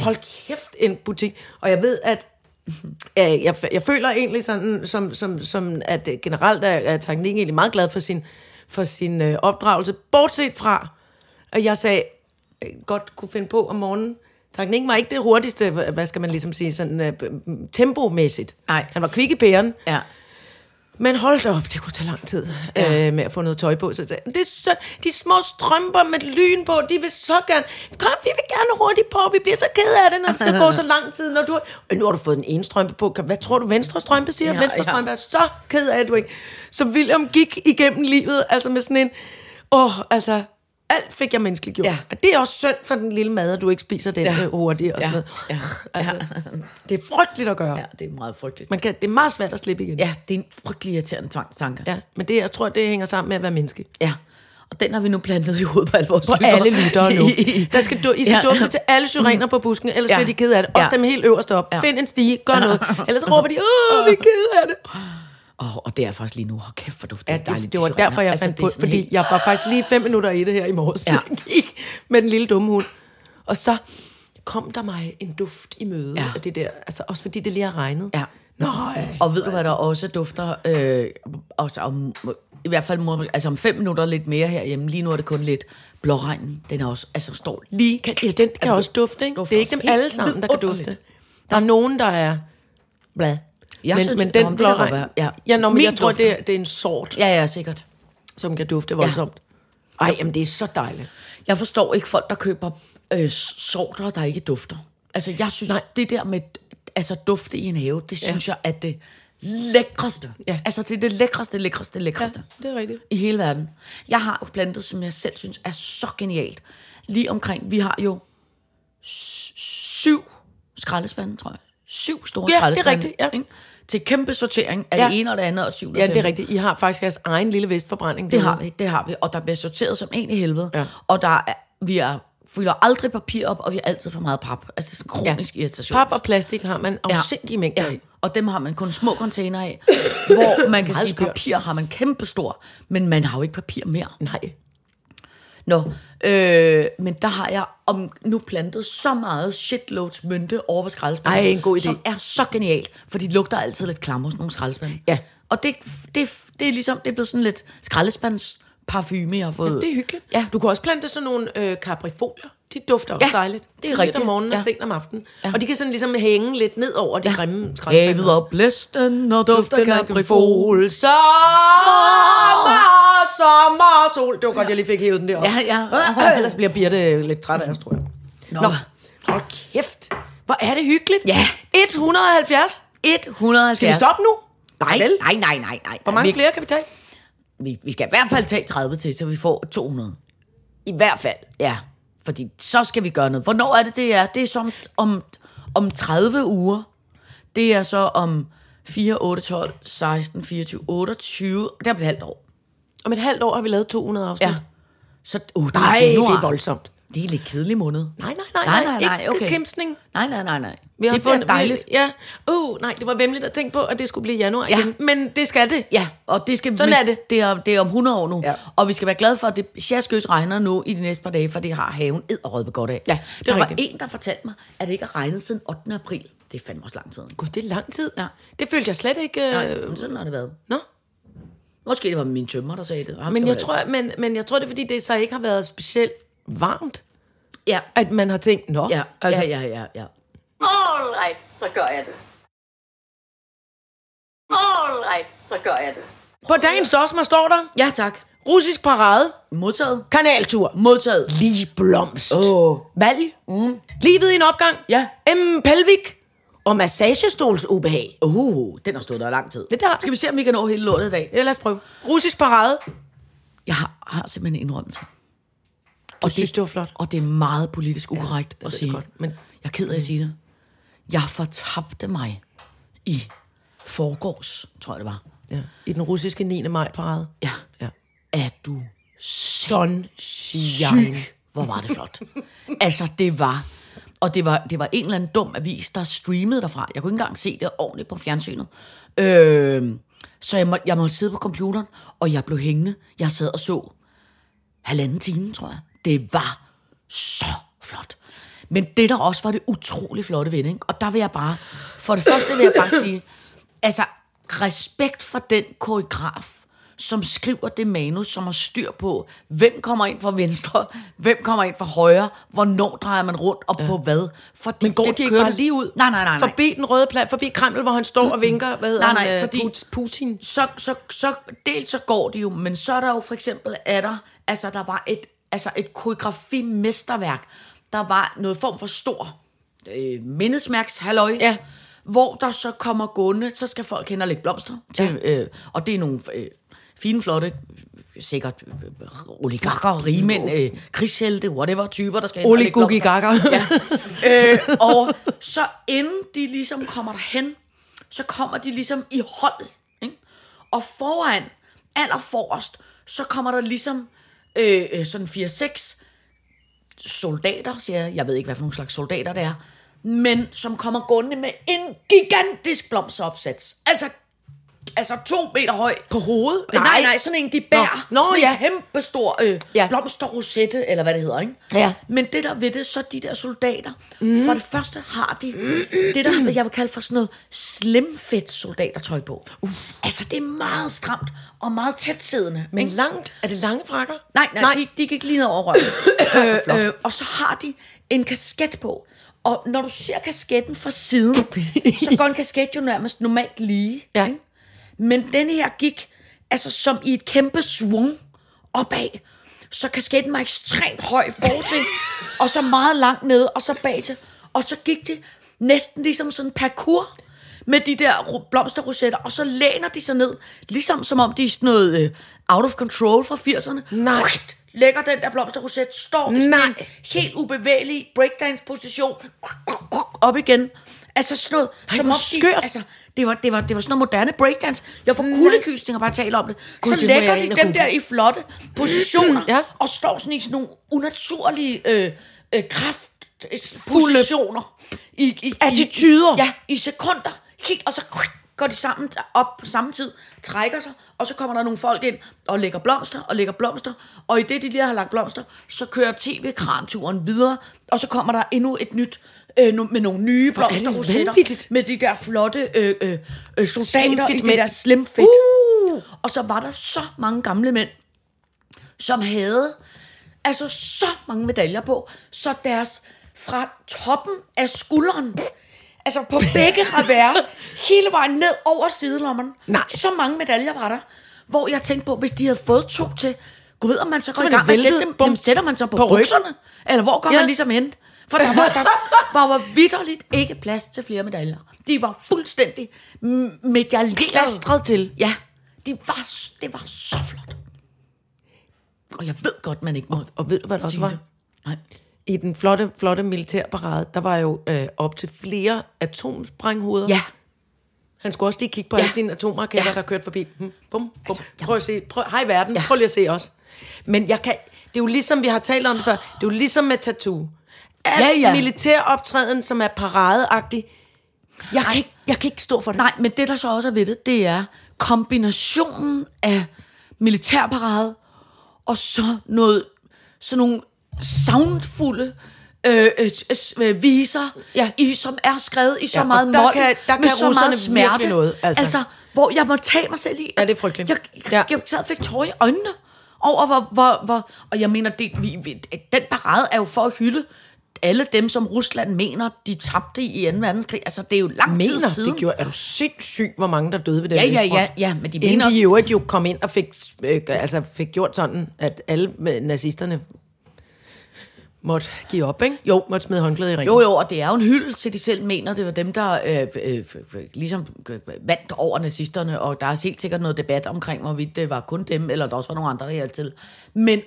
Speaker 3: hold kæft, en butik. Og jeg ved, at jeg, jeg, jeg føler egentlig sådan, som, som, som at øh, generelt er, er teknikken egentlig meget glad for sin, for sin øh, opdragelse, bortset fra, at jeg sagde, øh, godt kunne finde på om morgenen, Teknikken var ikke det hurtigste, hva- hvad skal man ligesom sige, sådan øh, b- m- tempomæssigt.
Speaker 4: Nej.
Speaker 3: Han var kvik i pæren,
Speaker 4: Ja.
Speaker 3: men hold da op, det kunne tage lang tid ja. øh, med at få noget tøj på. Så jeg sagde, det er så, de små strømper med lyn på, de vil så gerne... Kom, vi vil gerne hurtigt på, vi bliver så ked af det, når det skal gå så lang tid. Når du har, Øh, nu har du fået den ene strømpe på. Kan- Hvad tror du, venstre strømpe siger?
Speaker 4: Ja,
Speaker 3: Ja, venstre
Speaker 4: ja.
Speaker 3: strømpe er så ked af det, du ikke? Så William gik igennem livet, altså med sådan en... Åh, altså... Alt fik jeg menneskeliggjort.
Speaker 4: Ja.
Speaker 3: Ja. Og det er også synd for den lille mad, at du ikke spiser den
Speaker 4: Ja.
Speaker 3: ja. hurtigt. Og
Speaker 4: Ja.
Speaker 3: sådan noget.
Speaker 4: Ja.
Speaker 3: Altså, Det er frygteligt at gøre.
Speaker 4: ja, det er meget frygteligt.
Speaker 3: Man kan, det er meget svært at slippe igen.
Speaker 4: Ja, det er en frygtelig irriterende tvangstanke.
Speaker 3: Ja, men det, jeg tror, det hænger sammen med at være menneske.
Speaker 4: ja. Og den har vi nu plantet i hovedet på alle vores
Speaker 3: På alle lyttere nu. Der skal du, I skal
Speaker 4: Ja.
Speaker 3: ja. dufte til alle syrener på busken, ellers
Speaker 4: Ja.
Speaker 3: ja. bliver de ked af det. Også
Speaker 4: Ja.
Speaker 3: ja. dem helt øverst op.
Speaker 4: Ja.
Speaker 3: Ja. Find en stige, gør noget. Ellers så råber de, åh, vi er ked af det.
Speaker 4: Åh, og det er faktisk lige nu. Hold kæft, hvor dufter
Speaker 3: Ja,
Speaker 4: det dejligt.
Speaker 3: det, det var
Speaker 4: de syrener.
Speaker 3: derfor, jeg
Speaker 4: Altså,
Speaker 3: fandt
Speaker 4: det er
Speaker 3: på,
Speaker 4: sådan
Speaker 3: fordi
Speaker 4: helt-
Speaker 3: jeg var faktisk lige fem minutter i det her i morges.
Speaker 4: Ja.
Speaker 3: Ja. Jeg gik med den lille dumme hund. Og så kom der mig en duft i møde.
Speaker 4: Ja.
Speaker 3: Ja. Og det der, altså også fordi det lige har regnet.
Speaker 4: Ja.
Speaker 3: Nej.
Speaker 4: Og ved du, hvad der også dufter? Øh, også om, I hvert fald må, altså om fem minutter lidt mere herhjemme. Lige nu er det kun lidt blåregnen. Den er også, altså står lige...
Speaker 3: Kan, ja, den kan også dufte, ikke?
Speaker 4: dufter
Speaker 3: det er
Speaker 4: også
Speaker 3: ikke dem
Speaker 4: helt
Speaker 3: alle sammen, der kan
Speaker 4: vidunderligt.
Speaker 3: dufte. Der er nogen, der er... Hvad?
Speaker 4: Jeg
Speaker 3: men,
Speaker 4: synes-
Speaker 3: men
Speaker 4: Nå, men
Speaker 3: den
Speaker 4: det kan
Speaker 3: blå
Speaker 4: godt
Speaker 3: regn...
Speaker 4: være. Ja.
Speaker 3: Ja, ja nå, men
Speaker 4: Min
Speaker 3: jeg tror,
Speaker 4: dufter.
Speaker 3: det er, det er en sort,
Speaker 4: Ja, ja, sikkert.
Speaker 3: som kan dufte voldsomt. Ja. Ej, jamen det er så dejligt.
Speaker 4: Jeg forstår ikke folk, der køber øh, sorter, der ikke dufter. Altså, jeg synes, Nej.
Speaker 3: Nej.
Speaker 4: det der med altså, dufte i en have, det synes ja. jeg er det lækreste.
Speaker 3: Ja.
Speaker 4: Altså, det er det lækreste, lækreste, lækreste.
Speaker 3: det er rigtigt.
Speaker 4: I hele verden. Jeg har jo plantet, som jeg selv synes er så genialt. Lige omkring, vi har jo s- syv skraldespande, tror jeg. Syv store
Speaker 3: Ja, det er
Speaker 4: skraldespande.
Speaker 3: rigtigt, ja.
Speaker 4: Ikke? Til kæmpe sortering af
Speaker 3: Ja.
Speaker 4: det ene og det andet og syv
Speaker 3: Ja, det er rigtigt. I har faktisk jeres egen lille vestforbrænding.
Speaker 4: det har vi, det har vi. Og der bliver sorteret som en i helvede.
Speaker 3: Ja.
Speaker 4: Og der er, vi er, fylder aldrig papir op, og vi har altid for meget pap. Altså det er sådan en kronisk ja. irritation.
Speaker 3: Pap og plastik har man afsindige ja. mængder
Speaker 4: ja.
Speaker 3: af.
Speaker 4: Og dem har man kun små container af, hvor man kan
Speaker 3: Meget
Speaker 4: sige,
Speaker 3: skørt.
Speaker 4: papir har man kæmpestor, men man har jo ikke papir mere.
Speaker 3: Nej.
Speaker 4: Nå, øh, men der har jeg om nu plantet så meget shitloads mynte over ved skraldespanden.
Speaker 3: Ej, en god idé.
Speaker 4: Som er så genialt, for de lugter altid lidt klamme hos nogle skraldespande.
Speaker 3: Ja.
Speaker 4: Og det, det, det er ligesom, det er blevet sådan lidt skraldespands parfume, jeg har fået.
Speaker 3: Det er hyggeligt.
Speaker 4: Ja.
Speaker 3: Du kan også plante sådan nogle øh, kaprifolier. De dufter også
Speaker 4: Ja,
Speaker 3: dejligt.
Speaker 4: det er
Speaker 3: Tidligt
Speaker 4: rigtigt.
Speaker 3: om morgenen og
Speaker 4: Ja.
Speaker 3: sent om aftenen. Og de kan sådan ligesom hænge lidt ned over de ja. grimme skraldespande.
Speaker 4: Havet opblæsten og dufter
Speaker 3: duften af
Speaker 4: kaprifol.
Speaker 3: kaprifol. Ah! Sommer, sommer, sol. Det var godt, jeg lige fik hævet den der op.
Speaker 4: Ja, ja.
Speaker 3: Ellers bliver Birte lidt træt af os, tror jeg.
Speaker 4: Nå.
Speaker 3: Hold kæft. Hvor er det hyggeligt.
Speaker 4: Ja.
Speaker 3: 170.
Speaker 4: 170.
Speaker 3: Skal vi stoppe nu?
Speaker 4: Nej,
Speaker 3: Vel?
Speaker 4: nej, nej, nej, nej.
Speaker 3: Hvor mange
Speaker 4: vi,
Speaker 3: flere kan vi tage?
Speaker 4: Vi, vi skal i hvert fald tage 30 til, så vi får 200.
Speaker 3: I hvert fald.
Speaker 4: Ja, fordi så skal vi gøre noget. Hvornår er det, det er? Det er som om, om 30 uger. Det er så om 4, 8, 12, 16, 24, 28. Det er om et halvt år.
Speaker 3: Om et halvt år har vi lavet 200 afsnit.
Speaker 4: Ja. Så, uh, det
Speaker 3: Nej,
Speaker 4: januar.
Speaker 3: det er voldsomt.
Speaker 4: Det er en lidt kedelig måned.
Speaker 3: Nej, nej, nej,
Speaker 4: nej, nej, nej,
Speaker 3: ikke
Speaker 4: okay.
Speaker 3: kemsning.
Speaker 4: Nej, nej, nej, nej.
Speaker 3: Vi har
Speaker 4: det bliver
Speaker 3: fundet-
Speaker 4: dejligt.
Speaker 3: Vi, ja. Uh, nej, det var vemmeligt at tænke på, at det skulle blive januar ja.
Speaker 4: Ja.
Speaker 3: igen. Men det skal det.
Speaker 4: Ja, og det skal
Speaker 3: Sådan
Speaker 4: men
Speaker 3: er det.
Speaker 4: Det er, det er om 100 år nu.
Speaker 3: Ja.
Speaker 4: Ja. Og vi skal være glade for, at det sjaskøs regner nu i de næste par dage, for det har haven edderødbe godt af.
Speaker 3: Ja, det er
Speaker 4: der var
Speaker 3: rigtigt.
Speaker 4: en, der fortalte mig, at det ikke har regnet siden 8. april. Det er fandme også lang tid.
Speaker 3: Gud, det er lang tid.
Speaker 4: Ja.
Speaker 3: Det følte jeg slet ikke...
Speaker 4: Øh,
Speaker 3: Øh...
Speaker 4: men sådan har det været.
Speaker 3: Nå,
Speaker 4: Måske det var min tømmer, der sagde det. og ham
Speaker 3: men
Speaker 4: skal
Speaker 3: jeg,
Speaker 4: man-
Speaker 3: tror, men, men jeg tror, det er, fordi det så ikke har været specielt varmt,
Speaker 4: Ja,
Speaker 3: at man har tænkt, nå,
Speaker 4: ja,
Speaker 3: altså,
Speaker 4: altså, ja, ja, ja, ja.
Speaker 2: All right, så gør jeg det. All right, så gør jeg det.
Speaker 3: på dagens dosmer står der,
Speaker 4: Ja, tak.
Speaker 3: russisk parade,
Speaker 4: Modtaget.
Speaker 3: kanaltur,
Speaker 4: Modtaget.
Speaker 3: lige blomst,
Speaker 4: Åh.
Speaker 3: valg, mm. livet i en opgang,
Speaker 4: Ja.
Speaker 3: M. pelvik og massagestolsubehag.
Speaker 4: Uh, den har stået der i lang tid.
Speaker 3: Det der.
Speaker 4: Skal vi se, om vi kan nå hele lortet i dag?
Speaker 3: Ja, lad os prøve. Russisk parade.
Speaker 4: Jeg har, har simpelthen indrømt.
Speaker 3: Du synes, det var flot.
Speaker 4: Og det er meget politisk ukorrekt ja,
Speaker 3: ved
Speaker 4: at
Speaker 3: det
Speaker 4: sige.
Speaker 3: godt,
Speaker 4: Godt,
Speaker 3: men-
Speaker 4: men... Jeg er ked af at sige det. Jeg fortabte mig i forgårs, tror jeg det var.
Speaker 3: Ja. I den russiske 9. maj parade.
Speaker 4: Ja.
Speaker 3: Ja.
Speaker 4: Er du
Speaker 3: Sunshine.
Speaker 4: syg? Hvor var det flot. altså, det var... Og det var, det var en eller anden dum avis, der streamede derfra. Jeg kunne ikke engang se det ordentligt på fjernsynet. Øh, så jeg, må, jeg måtte sidde på computeren, og jeg blev hængende. Jeg sad og så halvanden time, tror jeg. Det var så flot. Men det der også var det utrolig flotte ved det, ikke? og der vil jeg bare, for det første vil jeg bare sige, altså respekt for den koreograf, som skriver det manus, som har styr på, hvem kommer ind fra venstre, hvem kommer ind fra højre, hvornår drejer man rundt, og ja. på hvad. Fordi
Speaker 3: Men går
Speaker 4: det
Speaker 3: de ikke
Speaker 4: kørte-
Speaker 3: bare lige ud?
Speaker 4: Nej, nej, nej. nej.
Speaker 3: Forbi den røde plads, forbi Kreml, hvor han står og vinker, hvad hedder
Speaker 4: Nej, nej,
Speaker 3: han, øh,
Speaker 4: fordi-
Speaker 3: Put- Putin.
Speaker 4: så, så, så, dels så går de jo, men så er der jo for eksempel, er der, altså der var et, altså et koreografimesterværk, der var noget form for stor øh, mindesmærks, halløj,
Speaker 3: Ja.
Speaker 4: hvor der så kommer gående, så skal folk hen og lægge blomster til, ja. øh, og det er nogle øh, fine, flotte, øh, sikkert øh, oligarker, rigmænd, øh, krigshelte, whatever typer, der skal hen og lægge blomster.
Speaker 3: Oligogigakker.
Speaker 4: Ja. Øh, og så inden de ligesom kommer derhen, så kommer de ligesom i hold. Ikke? Og foran, allerforrest, så kommer der ligesom øh, øh, sådan 4-6 soldater, siger jeg. Jeg ved ikke, hvad for nogle slags soldater det er. Men som kommer gående med en gigantisk blomsteropsats. Altså, altså to meter høj.
Speaker 3: På hovedet?
Speaker 4: Nej, nej, nej, sådan en, de bærer.
Speaker 3: Nå, Nå
Speaker 4: sådan
Speaker 3: ja.
Speaker 4: en kæmpe stor øh,
Speaker 3: Ja.
Speaker 4: ja. blomsterrosette, eller hvad det hedder, ikke?
Speaker 3: Ja.
Speaker 4: Men det der ved det, så de der soldater, mm. for det første har de det der, jeg vil kalde for sådan noget slimfedt soldatertøj på. Uh. Altså, det er meget stramt og meget tætsiddende.
Speaker 3: Men langt? Er det lange frakker?
Speaker 4: Nej, Mm. nej, nej. De, de gik lige ned over røven. øh, øh, og så har de en kasket på. Og når du ser kasketten fra siden, så går en kasket jo nærmest normalt lige.
Speaker 3: Ja.
Speaker 4: ikke? Men den her gik altså som i et kæmpe svung opad. Så kasketten var ekstremt høj fortil, og så meget langt ned, og så bag til. Og så gik det næsten ligesom sådan en parkour med de der ro- blomsterrosetter, og så læner de sig ned, ligesom som om de er sådan noget øh, out of control fra 80'erne.
Speaker 3: Nej.
Speaker 4: Whist! Lægger den der blomsterroset, står i sådan en
Speaker 3: Nej.
Speaker 4: helt ubevægelig breakdance-position, op igen. Altså sådan noget, Ej, som
Speaker 3: hvor
Speaker 4: om
Speaker 3: skørt.
Speaker 4: de, altså, det var, det, var, det var sådan noget moderne breakdance. Jeg får kuldegysninger bare at tale om det.
Speaker 3: Mm, Gud,
Speaker 4: Gud,
Speaker 3: det
Speaker 4: så
Speaker 3: må
Speaker 4: lægger
Speaker 3: jeg ind
Speaker 4: de
Speaker 3: og
Speaker 4: dem
Speaker 3: google.
Speaker 4: der i flotte positioner,
Speaker 3: Ja.
Speaker 4: ja. og står sådan i sådan nogle unaturlige øh, øh, kraft øh,
Speaker 3: Fulde
Speaker 4: positioner. I, i, i,
Speaker 3: Attityder.
Speaker 4: Ja, i sekunder. Helt, og så går de sammen op på samme tid, trækker sig, og så kommer der nogle folk ind og lægger blomster og lægger blomster. Og i det, de lige har lagt blomster, så kører tv-kranturen videre, og så kommer der endnu et nyt øh, nu- med nogle nye
Speaker 3: er det
Speaker 4: blomsterrosetter.
Speaker 3: vanvittigt.
Speaker 4: Med de der flotte øh, øh, øh, soldater i
Speaker 3: Slimfedt
Speaker 4: det
Speaker 3: mænd.
Speaker 4: der slim fit. Uh. Og så var der så mange gamle mænd, som havde altså så mange medaljer på, så deres fra toppen af skulderen, altså på begge revers, hele vejen ned over sidelommen.
Speaker 3: Nej.
Speaker 4: Så mange medaljer var der, hvor jeg tænkte på, hvis de havde fået to til, gud ved, om man så går
Speaker 3: var
Speaker 4: i
Speaker 3: det
Speaker 4: gang med at sætte
Speaker 3: væltet.
Speaker 4: dem,
Speaker 3: Bum.
Speaker 4: dem sætter man så
Speaker 3: På
Speaker 4: på, på
Speaker 3: ryggen.
Speaker 4: bukserne, eller hvor går
Speaker 3: Ja.
Speaker 4: ja. man ligesom hen? For der var, der, var, var vidderligt ikke plads til flere medaljer. De var fuldstændig m- medaljeret.
Speaker 3: Plastret til.
Speaker 4: Ja, de var, s- det var så flot. Og jeg ved godt, man ikke må
Speaker 3: Og ved du, hvad der også
Speaker 4: sige
Speaker 3: var?
Speaker 4: det. Nej.
Speaker 3: I den flotte, flotte militærparade, der var jo øh, op til flere atomsprænghoveder.
Speaker 4: Ja,
Speaker 3: Han skulle også lige kigge på ja. alle sine atomraketter, ja. der kørte forbi. Hmm. Bum, bum. Altså, prøv at se. Prøv, hej verden, ja. prøv lige at se os. Men jeg kan, det er jo ligesom, vi har talt om det før, det er jo ligesom med tattoo. Al
Speaker 4: Ja,
Speaker 3: ja,
Speaker 4: ja.
Speaker 3: ja. militæroptræden, som er paradeagtig, jeg kan, ikke, jeg kan ikke stå for det.
Speaker 4: Nej, men det der så også er ved det, det er kombinationen af militærparade og så noget, sådan nogle savnfulde øh, øh, s- øh, viser, ja.
Speaker 3: Ja.
Speaker 4: i, som er skrevet i så
Speaker 3: Ja,
Speaker 4: ja,
Speaker 3: og
Speaker 4: meget
Speaker 3: der
Speaker 4: mål,
Speaker 3: kan- der
Speaker 4: med
Speaker 3: kan
Speaker 4: så meget
Speaker 3: russerne virkelig
Speaker 4: smerte.
Speaker 3: noget, altså.
Speaker 4: altså, hvor jeg må tage mig selv i.
Speaker 3: Ja, det er frygteligt.
Speaker 4: Jeg,
Speaker 3: Ja.
Speaker 4: jeg, jeg sad og fik tårer i øjnene over, hvor, hvor, hvor og jeg mener, det, vi, vi, den parade er jo for at hylde alle dem, som Rusland mener, de tabte i 2. verdenskrig. Altså, det er jo lang tid
Speaker 3: mener,
Speaker 4: siden.
Speaker 3: det gjorde, er du sindssyg, hvor mange der døde ved den
Speaker 4: Ja, ja,
Speaker 3: østfront?
Speaker 4: ja, ja, men de
Speaker 3: Inden
Speaker 4: mener-
Speaker 3: de i øvrigt jo kom ind og fik, øh, altså fik gjort sådan, at alle øh, nazisterne måtte give op, ikke? Jo. Måtte smide håndklæde i ringen.
Speaker 4: Jo, jo, og det er jo en hyldest til, de selv mener, det var dem, der øh, øh, f- f- ligesom øh, vandt over nazisterne, og der er helt sikkert noget debat omkring, hvorvidt det var kun dem, eller der også var nogle andre, der hjalp til. Men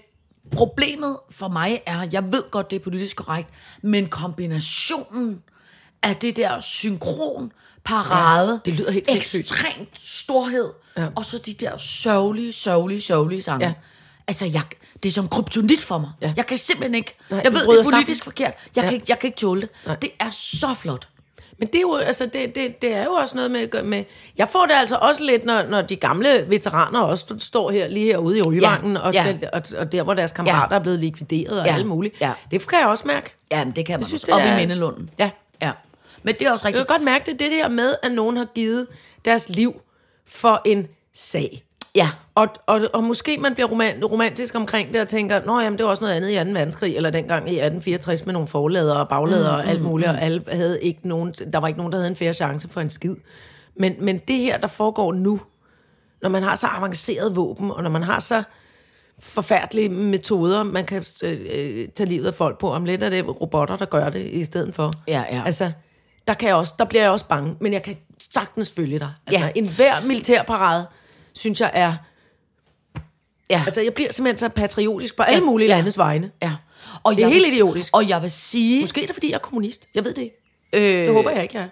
Speaker 4: problemet for mig er, jeg ved godt, det er politisk korrekt, men kombinationen af det der synkron parade, ja,
Speaker 3: det lyder helt sindssygt.
Speaker 4: ekstremt storhed, ja.
Speaker 3: Ja.
Speaker 4: og så de der sørgelige, sørgelige, sørgelige sange. Ja.
Speaker 3: Ja.
Speaker 4: Altså, jeg, det er som kryptonit for mig. Ja.
Speaker 3: Ja.
Speaker 4: Jeg kan simpelthen ikke.
Speaker 3: Nej,
Speaker 4: jeg
Speaker 3: du
Speaker 4: ved, det
Speaker 3: bryder
Speaker 4: er politisk
Speaker 3: sammen.
Speaker 4: forkert. Jeg, ja.
Speaker 3: Ja.
Speaker 4: kan, ikke- jeg kan ikke tåle det. Nej. Det er så flot.
Speaker 3: Men det er jo, altså, det, det, det er jo også noget med, med... Jeg får det altså også lidt, når, når de gamle veteraner også står her lige herude i Ryvangen,
Speaker 4: Ja,
Speaker 3: og,
Speaker 4: ja.
Speaker 3: skal, og, og der, hvor deres kammerater
Speaker 4: Ja.
Speaker 3: ja. er blevet likvideret og
Speaker 4: Ja,
Speaker 3: ja. alt muligt.
Speaker 4: ja.
Speaker 3: Det kan jeg også mærke.
Speaker 4: Jamen, det kan man
Speaker 3: synes,
Speaker 4: også. Op
Speaker 3: det
Speaker 4: i
Speaker 3: er-
Speaker 4: Mindelunden.
Speaker 3: Ja.
Speaker 4: ja. Men det er også
Speaker 3: Jeg
Speaker 4: rigtigt.
Speaker 3: kan godt mærke det, det der med, at nogen har givet deres liv for en sag.
Speaker 4: Ja.
Speaker 3: Og, og, og måske man bliver roman, romantisk omkring det og tænker, nå jamen, det var også noget andet i 2. verdenskrig, eller dengang i 1864 med nogle forladere og bagladere mm, og alt muligt, og alle havde ikke nogen, der var ikke nogen, der havde en færre chance for en skid. Men, men det her, der foregår nu, når man har så avanceret våben, og når man har så forfærdelige metoder, man kan øh, øh, tage livet af folk på, om lidt er det robotter, der gør det i stedet for.
Speaker 4: Ja, ja.
Speaker 3: Altså, der, kan jeg også, der bliver jeg også bange, men jeg kan sagtens følge dig. Altså,
Speaker 4: Ja.
Speaker 3: ja. en hver militærparade, synes jeg, er
Speaker 4: Ja.
Speaker 3: Altså, jeg bliver simpelthen så patriotisk på alle
Speaker 4: Ja,
Speaker 3: mulige
Speaker 4: ja.
Speaker 3: ja. landes vegne.
Speaker 4: ja. Og
Speaker 3: Det er
Speaker 4: jeg
Speaker 3: helt
Speaker 4: vil, s-
Speaker 3: idiotisk.
Speaker 4: Og jeg vil sige...
Speaker 3: Måske er det, fordi jeg er kommunist. Jeg ved det ikke. Øh, det håber jeg ikke, jeg er.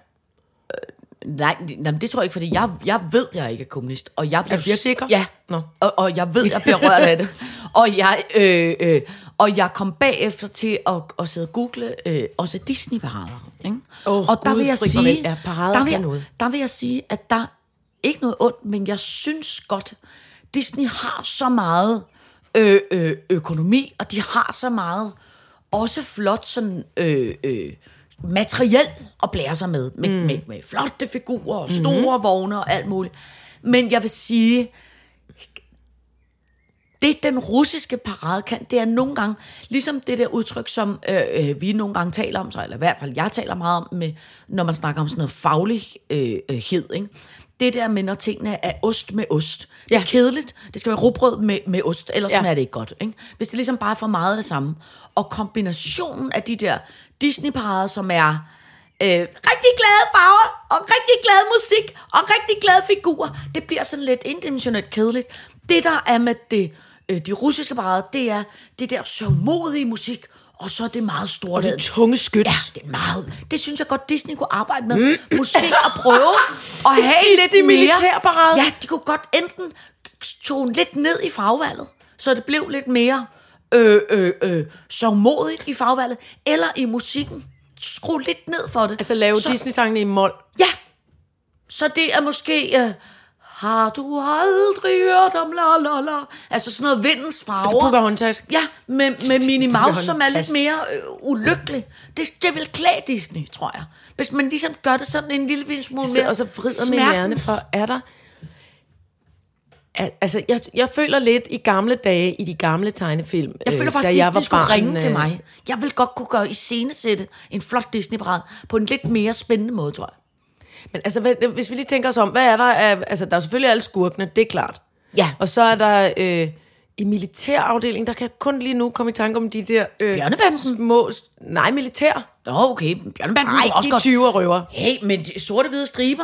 Speaker 4: Nej, det- nej, men det tror jeg ikke, fordi jeg, jeg ved, jeg ikke er kommunist. Og jeg bliver
Speaker 3: du
Speaker 4: virke-
Speaker 3: sikker?
Speaker 4: Ja,
Speaker 3: Nå.
Speaker 4: og, og jeg ved, jeg bliver rørt af det. Og jeg, øh, øh, og jeg kom bagefter til at, at sidde og google øh, også Disney-parader. Ikke?
Speaker 3: Åh,
Speaker 4: og der
Speaker 3: Gud,
Speaker 4: vil jeg
Speaker 3: fri mig
Speaker 4: sige,
Speaker 3: vel. Ja, parader
Speaker 4: der, vil
Speaker 3: kan
Speaker 4: jeg,
Speaker 3: noget.
Speaker 4: der vil jeg sige, at der ikke noget ondt, men jeg synes godt, Disney har så meget øh, øh, økonomi, og de har så meget også flot sådan øh, øh, materiel at blære sig med, med, mm. med, med flotte figurer
Speaker 3: Mhm.
Speaker 4: og store mm-hmm. vogne og alt muligt. Men jeg vil sige, det den russiske parade kan, det er nogle gange, ligesom det der udtryk, som øh, øh, vi nogle gange taler om, så, eller i hvert fald jeg taler meget om, med, når man snakker om sådan noget faglighed, øh, hed, ikke? Det der med, når tingene er ost med ost. Ja. Det
Speaker 3: Ja.
Speaker 4: er kedeligt. Det skal være rugbrød med, med ost, ellers ja.
Speaker 3: Ja.
Speaker 4: er det ikke godt. Ikke? Hvis det ligesom bare er for meget af det samme. Og kombinationen af de der Disney-parader, som er øh, rigtig glade farver, og rigtig glad musik, og rigtig glade figurer. Det bliver sådan lidt indimensionelt kedeligt. Det, der er med det, øh, de russiske parader, det er det der sørgmodige musik, og så det meget store. Og
Speaker 3: Det er tunge skyt.
Speaker 4: Ja, det er meget. Det synes jeg godt, Disney kunne arbejde med. Mm. Måske at prøve at have
Speaker 3: Disney
Speaker 4: lidt mere.
Speaker 3: militærparade.
Speaker 4: Ja, de kunne godt enten tone lidt ned i fagvalget, så det blev lidt mere øh, øh, øh, sovmodigt i fagvalget, eller i musikken. Skru lidt ned for det.
Speaker 3: Altså, lave
Speaker 4: så,
Speaker 3: Disney-sangene i mål.
Speaker 4: Ja. Så det er måske... Øh, har du aldrig hørt om la la la? Altså sådan noget vindens farver.
Speaker 3: Altså, Pocahontas.
Speaker 4: Ja, med, med Minnie
Speaker 3: bliver
Speaker 4: Mouse, som er lidt
Speaker 3: håndtast.
Speaker 4: mere øh, ulykkelig. Det, det vil klæde Disney, tror jeg. Hvis man ligesom gør det sådan en lille smule
Speaker 3: sidder
Speaker 4: mere
Speaker 3: og så vrider min hjerne
Speaker 4: smertens.
Speaker 3: for, er der... Al- Altså, jeg, jeg føler lidt i gamle dage, i de gamle tegnefilm,
Speaker 4: Jeg føler
Speaker 3: øh,
Speaker 4: faktisk,
Speaker 3: da
Speaker 4: at Disney
Speaker 3: var
Speaker 4: skulle
Speaker 3: barn,
Speaker 4: ringe til
Speaker 3: øh,
Speaker 4: mig. Jeg vil godt kunne gøre i scenesætte en flot Disney-parade på en lidt mere spændende måde, tror jeg.
Speaker 3: Men altså, hvad, hvis vi lige tænker os om, hvad er der af, Altså, der er selvfølgelig alle skurkene, det er klart.
Speaker 4: Ja.
Speaker 3: Og så er der øh, i militærafdelingen, der kan jeg kun lige nu komme i tanke om de der... Øh,
Speaker 4: Bjørnebanden?
Speaker 3: Små, nej, militær.
Speaker 4: Nå, okay. Bjørnebanden
Speaker 3: Nej,
Speaker 4: kunne også
Speaker 3: de
Speaker 4: godt...
Speaker 3: 20 røver.
Speaker 4: Hey, men de sorte-hvide striber?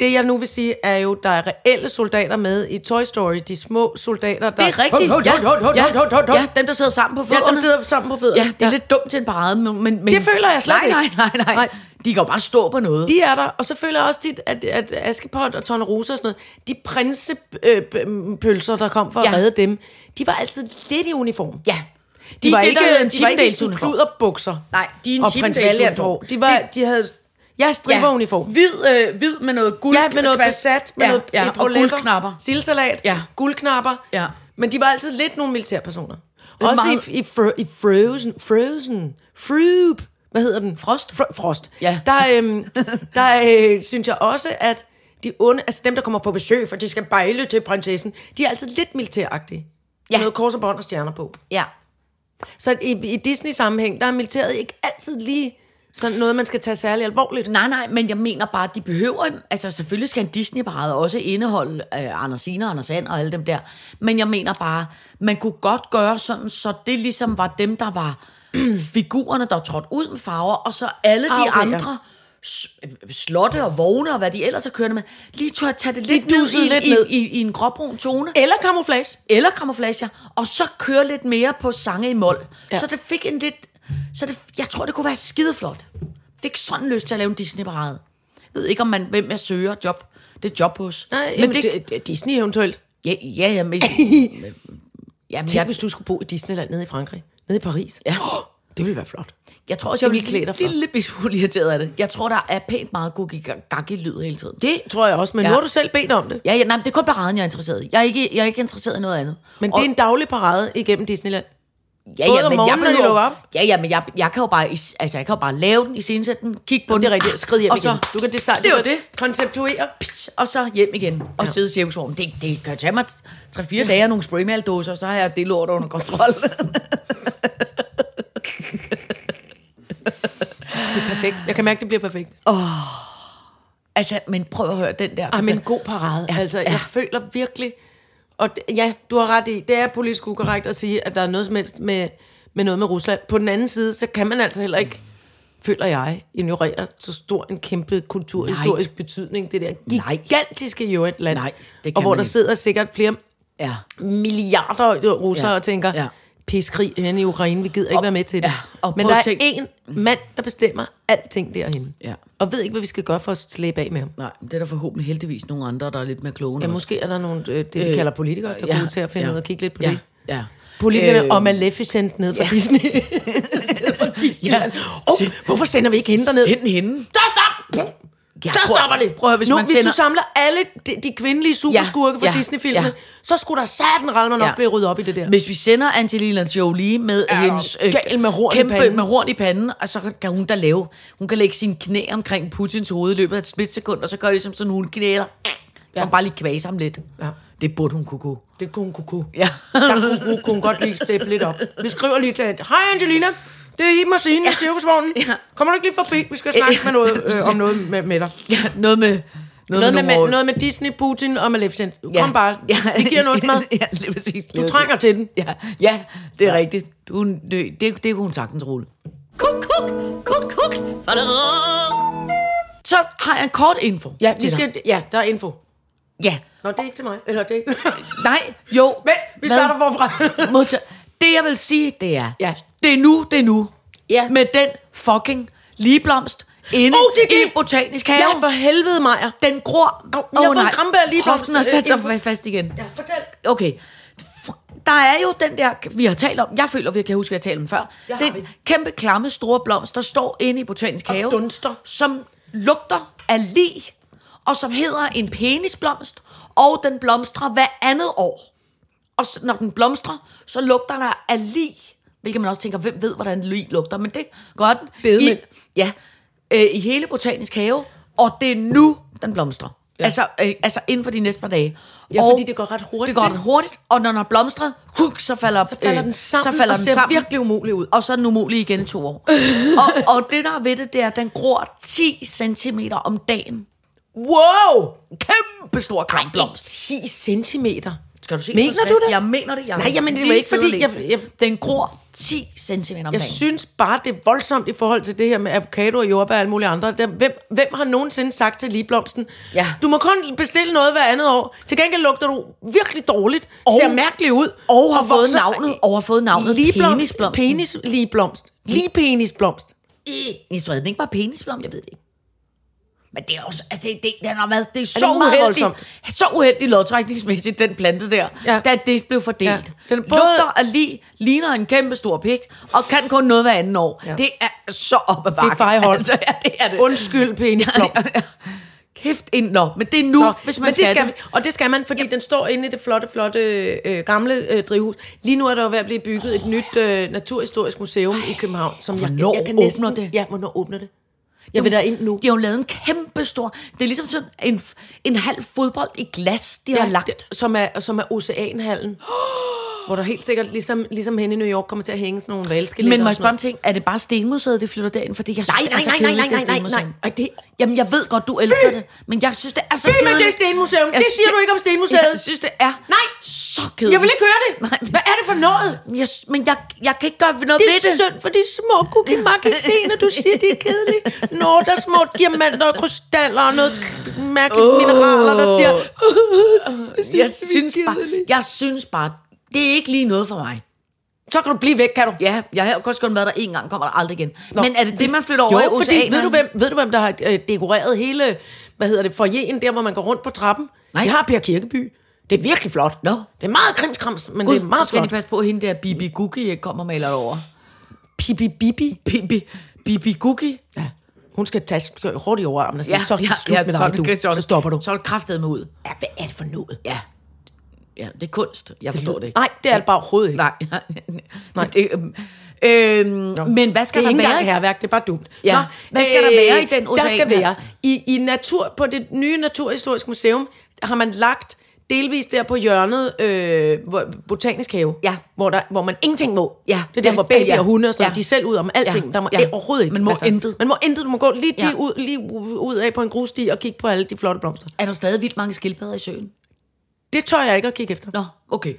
Speaker 3: Det, jeg nu vil sige, er jo, der er reelle soldater med i Toy Story. De små soldater, der...
Speaker 4: Det er rigtigt.
Speaker 3: Hov, hov, hov, hov,
Speaker 4: ja.
Speaker 3: hov, hov, hov.
Speaker 4: ja, dem, der sidder sammen på
Speaker 3: Ja,
Speaker 4: fødderne.
Speaker 3: de sidder sammen på fødderne.
Speaker 4: Ja, det er ja. lidt dumt til en parade, men, men... men-
Speaker 3: Det føler jeg slet
Speaker 4: nej,
Speaker 3: ikke.
Speaker 4: Nej, nej, nej,
Speaker 3: Nej.
Speaker 4: De kan jo bare stå på noget.
Speaker 3: De er der, og så føler jeg også tit, at, at Askepot og Tone Rosa og sådan noget, de øh, prinsepølser, der kom for at
Speaker 4: Ja.
Speaker 3: redde dem, de var altid lidt i uniform.
Speaker 4: Ja.
Speaker 3: De, de var
Speaker 4: er
Speaker 3: ikke,
Speaker 4: hedder
Speaker 3: de var ikke i sådan
Speaker 4: Chippendales-uniform.
Speaker 3: kluderbukser.
Speaker 4: Nej, de er en
Speaker 3: og prins
Speaker 4: Chippendales
Speaker 3: Valiant
Speaker 4: uniform.
Speaker 3: hår. De, var,
Speaker 4: Det-
Speaker 3: de havde... Ja, striberuniform.
Speaker 4: Hvid, øh, hvid med noget guld.
Speaker 3: Ja, med noget
Speaker 4: kvast.
Speaker 3: besat, med
Speaker 4: ja,
Speaker 3: noget
Speaker 4: ja, og
Speaker 3: epauletter,
Speaker 4: guldknapper.
Speaker 3: Sildesalat,
Speaker 4: Ja.
Speaker 3: guldknapper.
Speaker 4: Ja.
Speaker 3: Men de var altid lidt nogle militærpersoner.
Speaker 4: er
Speaker 3: Også
Speaker 4: meget-
Speaker 3: i, i, fro, i Frozen, Frozen, Froop, hvad hedder den? Frost. Fro, frost.
Speaker 4: Ja.
Speaker 3: Der, øhm, der øh, synes jeg også, at de onde, altså dem, der kommer på besøg, for de skal bejle til prinsessen, de er altid lidt militæragtige.
Speaker 4: Ja.
Speaker 3: Noget kors og bånd og stjerner på.
Speaker 4: Ja.
Speaker 3: Så i, i Disney-sammenhæng, der er militæret ikke altid lige sådan noget, man skal tage særlig alvorligt.
Speaker 4: Nej, nej, men jeg mener bare, at de behøver... Altså, selvfølgelig skal en Disney-parade også indeholde øh, Anders Sine og Anders Sand og alle dem der. Men jeg mener bare, man kunne godt gøre sådan, så det ligesom var dem, der var figurerne, der trådte ud med farver, og så alle de
Speaker 3: Ah, okay, ja.
Speaker 4: andre s- øh, slotte og vogne og hvad de ellers har kørende med, lige tør at tage det lidt, ned,
Speaker 3: dusede
Speaker 4: i,
Speaker 3: lidt
Speaker 4: i,
Speaker 3: ned.
Speaker 4: I, i, i en gråbrun tone.
Speaker 3: Eller camouflage.
Speaker 4: eller kamuflager, og så køre lidt mere på sange i mål.
Speaker 3: Ja.
Speaker 4: Ja. Så det fik en lidt... Så det, jeg tror, det kunne være skideflot. Fik sådan lyst til at lave en Disney-parade. Jeg ved ikke, om man, hvem jeg søger job. Det er job hos.
Speaker 3: Nej, men det, det, det, Disney eventuelt.
Speaker 4: Ja, ja, ja, men... Jamen,
Speaker 3: Tænk,
Speaker 4: jeg,
Speaker 3: hvis du skulle bo i Disneyland nede i Frankrig. Nede i Paris. Ja. Det ville være flot.
Speaker 4: jeg tror også, jeg
Speaker 3: ville
Speaker 4: bliver
Speaker 3: klæde dig
Speaker 4: en
Speaker 3: for.
Speaker 4: lille bitte smule irriteret af det. Jeg tror, der er pænt meget guggi lyd hele tiden.
Speaker 3: Det tror jeg også, men ja.
Speaker 4: Ja.
Speaker 3: nu har du selv bedt om det.
Speaker 4: Ja, ja, nej, men det er kun paraden, jeg er interesseret i. Jeg er ikke, jeg er ikke interesseret i noget andet.
Speaker 3: Men
Speaker 4: Og-
Speaker 3: det er en daglig parade igennem Disneyland.
Speaker 4: Ja,
Speaker 3: Både
Speaker 4: ja,
Speaker 3: om
Speaker 4: men jeg
Speaker 3: morgenen, når de
Speaker 4: behøver-
Speaker 3: lukker op.
Speaker 4: Ja, ja, men jeg, jeg kan jo bare, is- altså, jeg kan jo bare lave den, iscenesætte den, kigge på
Speaker 3: Jamen,
Speaker 4: den.
Speaker 3: det er rigtigt. Skrid hjem
Speaker 4: og så,
Speaker 3: igen. Du kan designe,
Speaker 4: Det er
Speaker 3: du
Speaker 4: jo
Speaker 3: kan
Speaker 4: det.
Speaker 3: konceptuere.
Speaker 4: Pst, og så hjem igen og ja. sidde i cirkusvognen. Det, det kan tage mig 3-4 ja. dage og nogle spraymaldåser, så har jeg det lort under kontrol.
Speaker 3: Perfekt. Jeg kan mærke, det bliver perfekt.
Speaker 4: altså, men prøv at høre den der.
Speaker 3: Ah, men en god parade. Ja, altså, jeg føler virkelig... Og det, ja, du har ret i, det er politisk ukorrekt at sige, at der er noget som helst med, med noget med Rusland. På den anden side, så kan man altså heller ikke, føler jeg, ignorere så stor en kæmpe kulturhistorisk Nej. betydning. Det der
Speaker 4: Nej.
Speaker 3: gigantiske jo et land.
Speaker 4: Nej, det kan
Speaker 3: Og hvor
Speaker 4: man
Speaker 3: der
Speaker 4: ikke.
Speaker 3: sidder sikkert flere
Speaker 4: Ja.
Speaker 3: milliarder russere ja.
Speaker 4: Ja,
Speaker 3: og tænker, ja.
Speaker 4: ja.
Speaker 3: piskrig henne i Ukraine, vi gider ikke være med til det.
Speaker 4: ja, og
Speaker 3: Men
Speaker 4: prøv
Speaker 3: der
Speaker 4: at
Speaker 3: er
Speaker 4: tænk-
Speaker 3: en mand, der bestemmer alting derhen.
Speaker 4: Ja.
Speaker 3: Og ved ikke, hvad vi skal gøre for at slæbe af med ham.
Speaker 4: Nej, men det er der forhåbentlig heldigvis nogle andre, der er lidt mere kloge end
Speaker 3: Ja,
Speaker 4: os.
Speaker 3: måske er der nogle, øh, det vi øh, kalder politikere, der ja, går ud til at finde ja, ud af at kigge lidt på
Speaker 4: ja,
Speaker 3: det.
Speaker 4: Ja.
Speaker 3: Politikerne øh, og Maleficent ned fra ja. Disney. ja. oh, hvorfor sender vi ikke hende derned?
Speaker 4: Send hende. Jeg
Speaker 3: Der
Speaker 4: tror-
Speaker 3: stopper det.
Speaker 4: Prøv at høre, hvis
Speaker 3: nu,
Speaker 4: man
Speaker 3: hvis
Speaker 4: sender-
Speaker 3: du samler alle de, de kvindelige superskurke fra
Speaker 4: ja,
Speaker 3: Disney-filmene,
Speaker 4: ja.
Speaker 3: så skulle der satan ramme nok
Speaker 4: Ja.
Speaker 3: blive ryddet op i det der.
Speaker 4: Hvis vi sender Angelina Jolie med
Speaker 3: Er
Speaker 4: er
Speaker 3: du
Speaker 4: hendes øh,
Speaker 3: gal med horn i
Speaker 4: kæmpe
Speaker 3: panden?
Speaker 4: med horn i panden, og så kan hun da lave, hun kan lægge sine knæ omkring Putins hoved i løbet af et splitsekund, og så gør det som sådan, hun knæler. Ja. Og bare lige kvæse ham lidt.
Speaker 3: Ja.
Speaker 4: Det burde hun kunne kunne.
Speaker 3: Det kunne hun kunne. kunne.
Speaker 4: Ja.
Speaker 3: Der kunne, kunne, kunne hun godt lige steppe lidt op. Vi skriver lige til hende. Hej Angelina, det er Iben og Signe ja. i cirkusvognen. Ja. Kommer du ikke lige forbi? Vi skal snakke med noget, øh, om noget med, med dig.
Speaker 4: ja noget med...
Speaker 3: Noget med, med,
Speaker 4: nogle-
Speaker 3: noget med Disney, Putin og Maleficent.
Speaker 4: Ja.
Speaker 3: Kom bare, ja. vi giver noget mad.
Speaker 4: ja, lige præcis.
Speaker 3: Du trænger til den.
Speaker 4: Ja, ja det er ja. rigtigt. Hun, det, det, det kunne hun sagtens rulle.
Speaker 2: Kuk, kuk, kuk, kuk.
Speaker 4: Så har jeg en kort info.
Speaker 3: Ja, vi
Speaker 4: til dig.
Speaker 3: skal, ja, der er info.
Speaker 4: Ja.
Speaker 3: Nå, det er ikke til mig. Eller det er ikke...
Speaker 4: Nej, jo.
Speaker 3: Men vi
Speaker 4: Hvad?
Speaker 3: starter forfra.
Speaker 4: Modtaget. Det jeg vil sige, det er,
Speaker 3: Ja.
Speaker 4: det er nu, det er nu.
Speaker 3: Ja.
Speaker 4: Med den fucking ligeblomst inde
Speaker 3: Oh, det er
Speaker 4: i
Speaker 3: det.
Speaker 4: botanisk have.
Speaker 3: ja, for helvede, Maja.
Speaker 4: Den gror.
Speaker 3: Au, jeg har fået krampe af ligeblomst.
Speaker 4: Hoften har sat
Speaker 3: Øh,
Speaker 4: sig fast igen.
Speaker 3: Ja, fortæl.
Speaker 4: Okay. Der er jo den der, vi har talt om, jeg føler, vi kan huske, at vi har talt om den før.
Speaker 3: Ja, har vi.
Speaker 4: Den kæmpe, klamme, store blomst, der står inde i botanisk have.
Speaker 3: dunster.
Speaker 4: Som lugter af lig, og som hedder en penisblomst, og den blomstrer hver andet år. Og så, når den blomstrer, så lugter der af lig. Hvilket man også tænker, hvem ved, hvordan lig lugter. Men det gør den.
Speaker 3: Bedemænd.
Speaker 4: I, ja, øh, i hele Botanisk Have. Og det er nu, den blomstrer. Ja. Altså, øh, altså inden for de næste par dage.
Speaker 3: Ja,
Speaker 4: og
Speaker 3: fordi det går ret hurtigt,
Speaker 4: Det går
Speaker 3: ikke?
Speaker 4: ret hurtigt, og når den har blomstret, huk, Øh, så falder,
Speaker 3: Så falder den sammen og ser virkelig umulig ud.
Speaker 4: Og så er den umulig igen i to år. og, og det, der er ved det, det er, at den gror 10 cm om dagen.
Speaker 3: Wow!
Speaker 4: Kæmpe stor klamblomst.
Speaker 3: 10 centimeter.
Speaker 4: Skal du se
Speaker 3: Mener
Speaker 4: på skrift?
Speaker 3: du det?
Speaker 4: Jeg mener det. Jeg
Speaker 3: Nej, jamen, det var ikke, fordi jeg- jeg-
Speaker 4: Den gror 10 cm om
Speaker 3: Jeg
Speaker 4: dagen.
Speaker 3: synes bare, det er voldsomt i forhold til det her med avocado og jordbær og alle mulige andre. Der- Hvem, hvem har nogensinde sagt til ligeblomsten,
Speaker 4: Ja.
Speaker 3: du må kun bestille noget hver andet år. Til gengæld lugter du virkelig dårligt,
Speaker 4: Og-
Speaker 3: og, ser mærkelig ud.
Speaker 4: og har fået
Speaker 3: vokser-
Speaker 4: navnet- og har fået navnet penisblomsten.
Speaker 3: Penis, ligeblomst. Lige penisblomst.
Speaker 4: Jeg tror, den ikke var penisblomst, jeg ved det ikke. Men det er også, altså det, det, den har været, det er så
Speaker 3: meget
Speaker 4: uheldig,
Speaker 3: voldsomt?
Speaker 4: så uheldig lodtrækningsmæssigt, den plante der, ja.
Speaker 3: Ja.
Speaker 4: da det blev fordelt. Ja.
Speaker 3: Ja. Den
Speaker 4: Den
Speaker 3: er
Speaker 4: både...
Speaker 3: både-
Speaker 4: lugter af lig, ligner en kæmpe stor pik, og kan kun noget hver anden år. Ja.
Speaker 3: Ja.
Speaker 4: Det er så op ad bakken.
Speaker 3: fejhold.
Speaker 4: Altså, ja, det er det.
Speaker 3: Undskyld, penisblomst.
Speaker 4: Kæft ind, nå, men det er nu, nå, hvis man
Speaker 3: Uh, men
Speaker 4: skal,
Speaker 3: det skal
Speaker 4: det.
Speaker 3: man- Og det skal man, fordi ja. den står inde i det flotte, flotte øh, gamle øh, drivhus. Lige nu er der jo ved at blive bygget et nyt øh, naturhistorisk museum i København. Som jeg,
Speaker 4: hvornår
Speaker 3: jeg kan
Speaker 4: åbner
Speaker 3: næsten,
Speaker 4: det?
Speaker 3: Ja, hvornår åbner det? Jeg vil der ind nu.
Speaker 4: De har jo lavet en kæmpe stor, det er ligesom sådan en, en halv fodbold i glas, de ja, har lagt. Det.
Speaker 3: det- Som er, som er Oceanhallen. hvor der helt sikkert, ligesom, ligesom henne i New York, kommer til at hænge sådan nogle valskeletter.
Speaker 4: Men må
Speaker 3: og
Speaker 4: jeg
Speaker 3: sådan
Speaker 4: spørge om ting, er det bare Stenmuseet, det flytter derind? Fordi jeg synes,
Speaker 3: Nej,
Speaker 4: det er
Speaker 3: nej,
Speaker 4: så
Speaker 3: nej, nej,
Speaker 4: kedeligt,
Speaker 3: nej,
Speaker 4: det
Speaker 3: nej, nej,
Speaker 4: Stenmuseum.
Speaker 3: nej. Ej, altså det-
Speaker 4: Jamen, jeg ved godt, du elsker det, men jeg synes, det er så
Speaker 3: Fy med
Speaker 4: kedeligt.
Speaker 3: det Stenmuseum.
Speaker 4: Jeg
Speaker 3: Det
Speaker 4: synes,
Speaker 3: siger du ikke om Stenmuseet.
Speaker 4: Jeg synes, det er
Speaker 3: Nej.
Speaker 4: så
Speaker 3: noget.
Speaker 4: kedeligt.
Speaker 3: Jeg vil ikke høre det.
Speaker 4: Nej.
Speaker 3: Hvad er det for noget?
Speaker 4: Men Jeg, men jeg, jeg kan ikke gøre noget
Speaker 3: Det
Speaker 4: ved
Speaker 3: er
Speaker 4: det.
Speaker 3: synd for de små cookie-makke-stener, du siger, de er kedelige. Nå, der er små diamanter og krystaller og noget k- mærkeligt oh. mineraler, der siger...
Speaker 4: Jeg synes, bare, jeg synes bare, det er ikke lige noget for mig.
Speaker 3: Så kan du blive væk, kan du?
Speaker 4: Ja, jeg har også kun været der én gang, kommer der aldrig igen. Nå. Men er det det, man flytter over i
Speaker 3: Jo,
Speaker 4: oceanen?
Speaker 3: fordi ved du, hvem, ved du, hvem der har øh, dekoreret hele, hvad hedder det, forjen, der hvor man går rundt på trappen?
Speaker 4: Nej.
Speaker 3: Nej. Det har Per Kirkeby. Det er virkelig flot.
Speaker 4: Nå.
Speaker 3: Det er meget krimskrams, men
Speaker 4: Gud,
Speaker 3: det er meget
Speaker 4: så skal de
Speaker 3: flot.
Speaker 4: passe på, at hende der Bibi Gugi ikke kommer og maler det over. Bibi Bibi? Bibi, Bibi Gugi? Ja,
Speaker 3: Hun skal tage sk- hårdt i overarmen og sige, ja, Altså, så er det slut ja, med
Speaker 4: så, er
Speaker 3: dig,
Speaker 4: det-
Speaker 3: du.
Speaker 4: er
Speaker 3: Så
Speaker 4: det-
Speaker 3: stopper du.
Speaker 4: Så er det kraftet med ud.
Speaker 3: Ja, hvad er det for noget?
Speaker 4: Ja. ja, det er kunst. Jeg forstår det ikke.
Speaker 3: Nej, det er det bare overhovedet ikke.
Speaker 4: Nej, nej, nej. Det, øhm, øhm, men hvad skal
Speaker 3: det er
Speaker 4: der
Speaker 3: ikke engang
Speaker 4: være?
Speaker 3: herværk, det er bare dumt. øh,
Speaker 4: Ja. Hvad skal der være i den
Speaker 3: Der skal
Speaker 4: ocean her?
Speaker 3: være. I, i natur, på det nye Naturhistoriske Museum har man lagt delvis der på hjørnet øh, hvor, Botanisk Have,
Speaker 4: Ja.
Speaker 3: hvor, der, hvor man ingenting må.
Speaker 4: Ja.
Speaker 3: Det er der,
Speaker 4: Ja,
Speaker 3: hvor babyer
Speaker 4: ja, ja.
Speaker 3: og hunde og sådan noget,
Speaker 4: Ja.
Speaker 3: de er selv ud om alting.
Speaker 4: Ja.
Speaker 3: Der må
Speaker 4: Ja.
Speaker 3: ja. overhovedet ikke. altså,
Speaker 4: Man må intet.
Speaker 3: Man må intet. Du må gå lige,
Speaker 4: Ja.
Speaker 3: ja. ud, lige ud af på en grussti og kigge på alle de flotte blomster.
Speaker 4: Er der stadig vildt mange skildpadder i søen?
Speaker 3: Det tør jeg ikke at kigge efter.
Speaker 4: Nå, okay.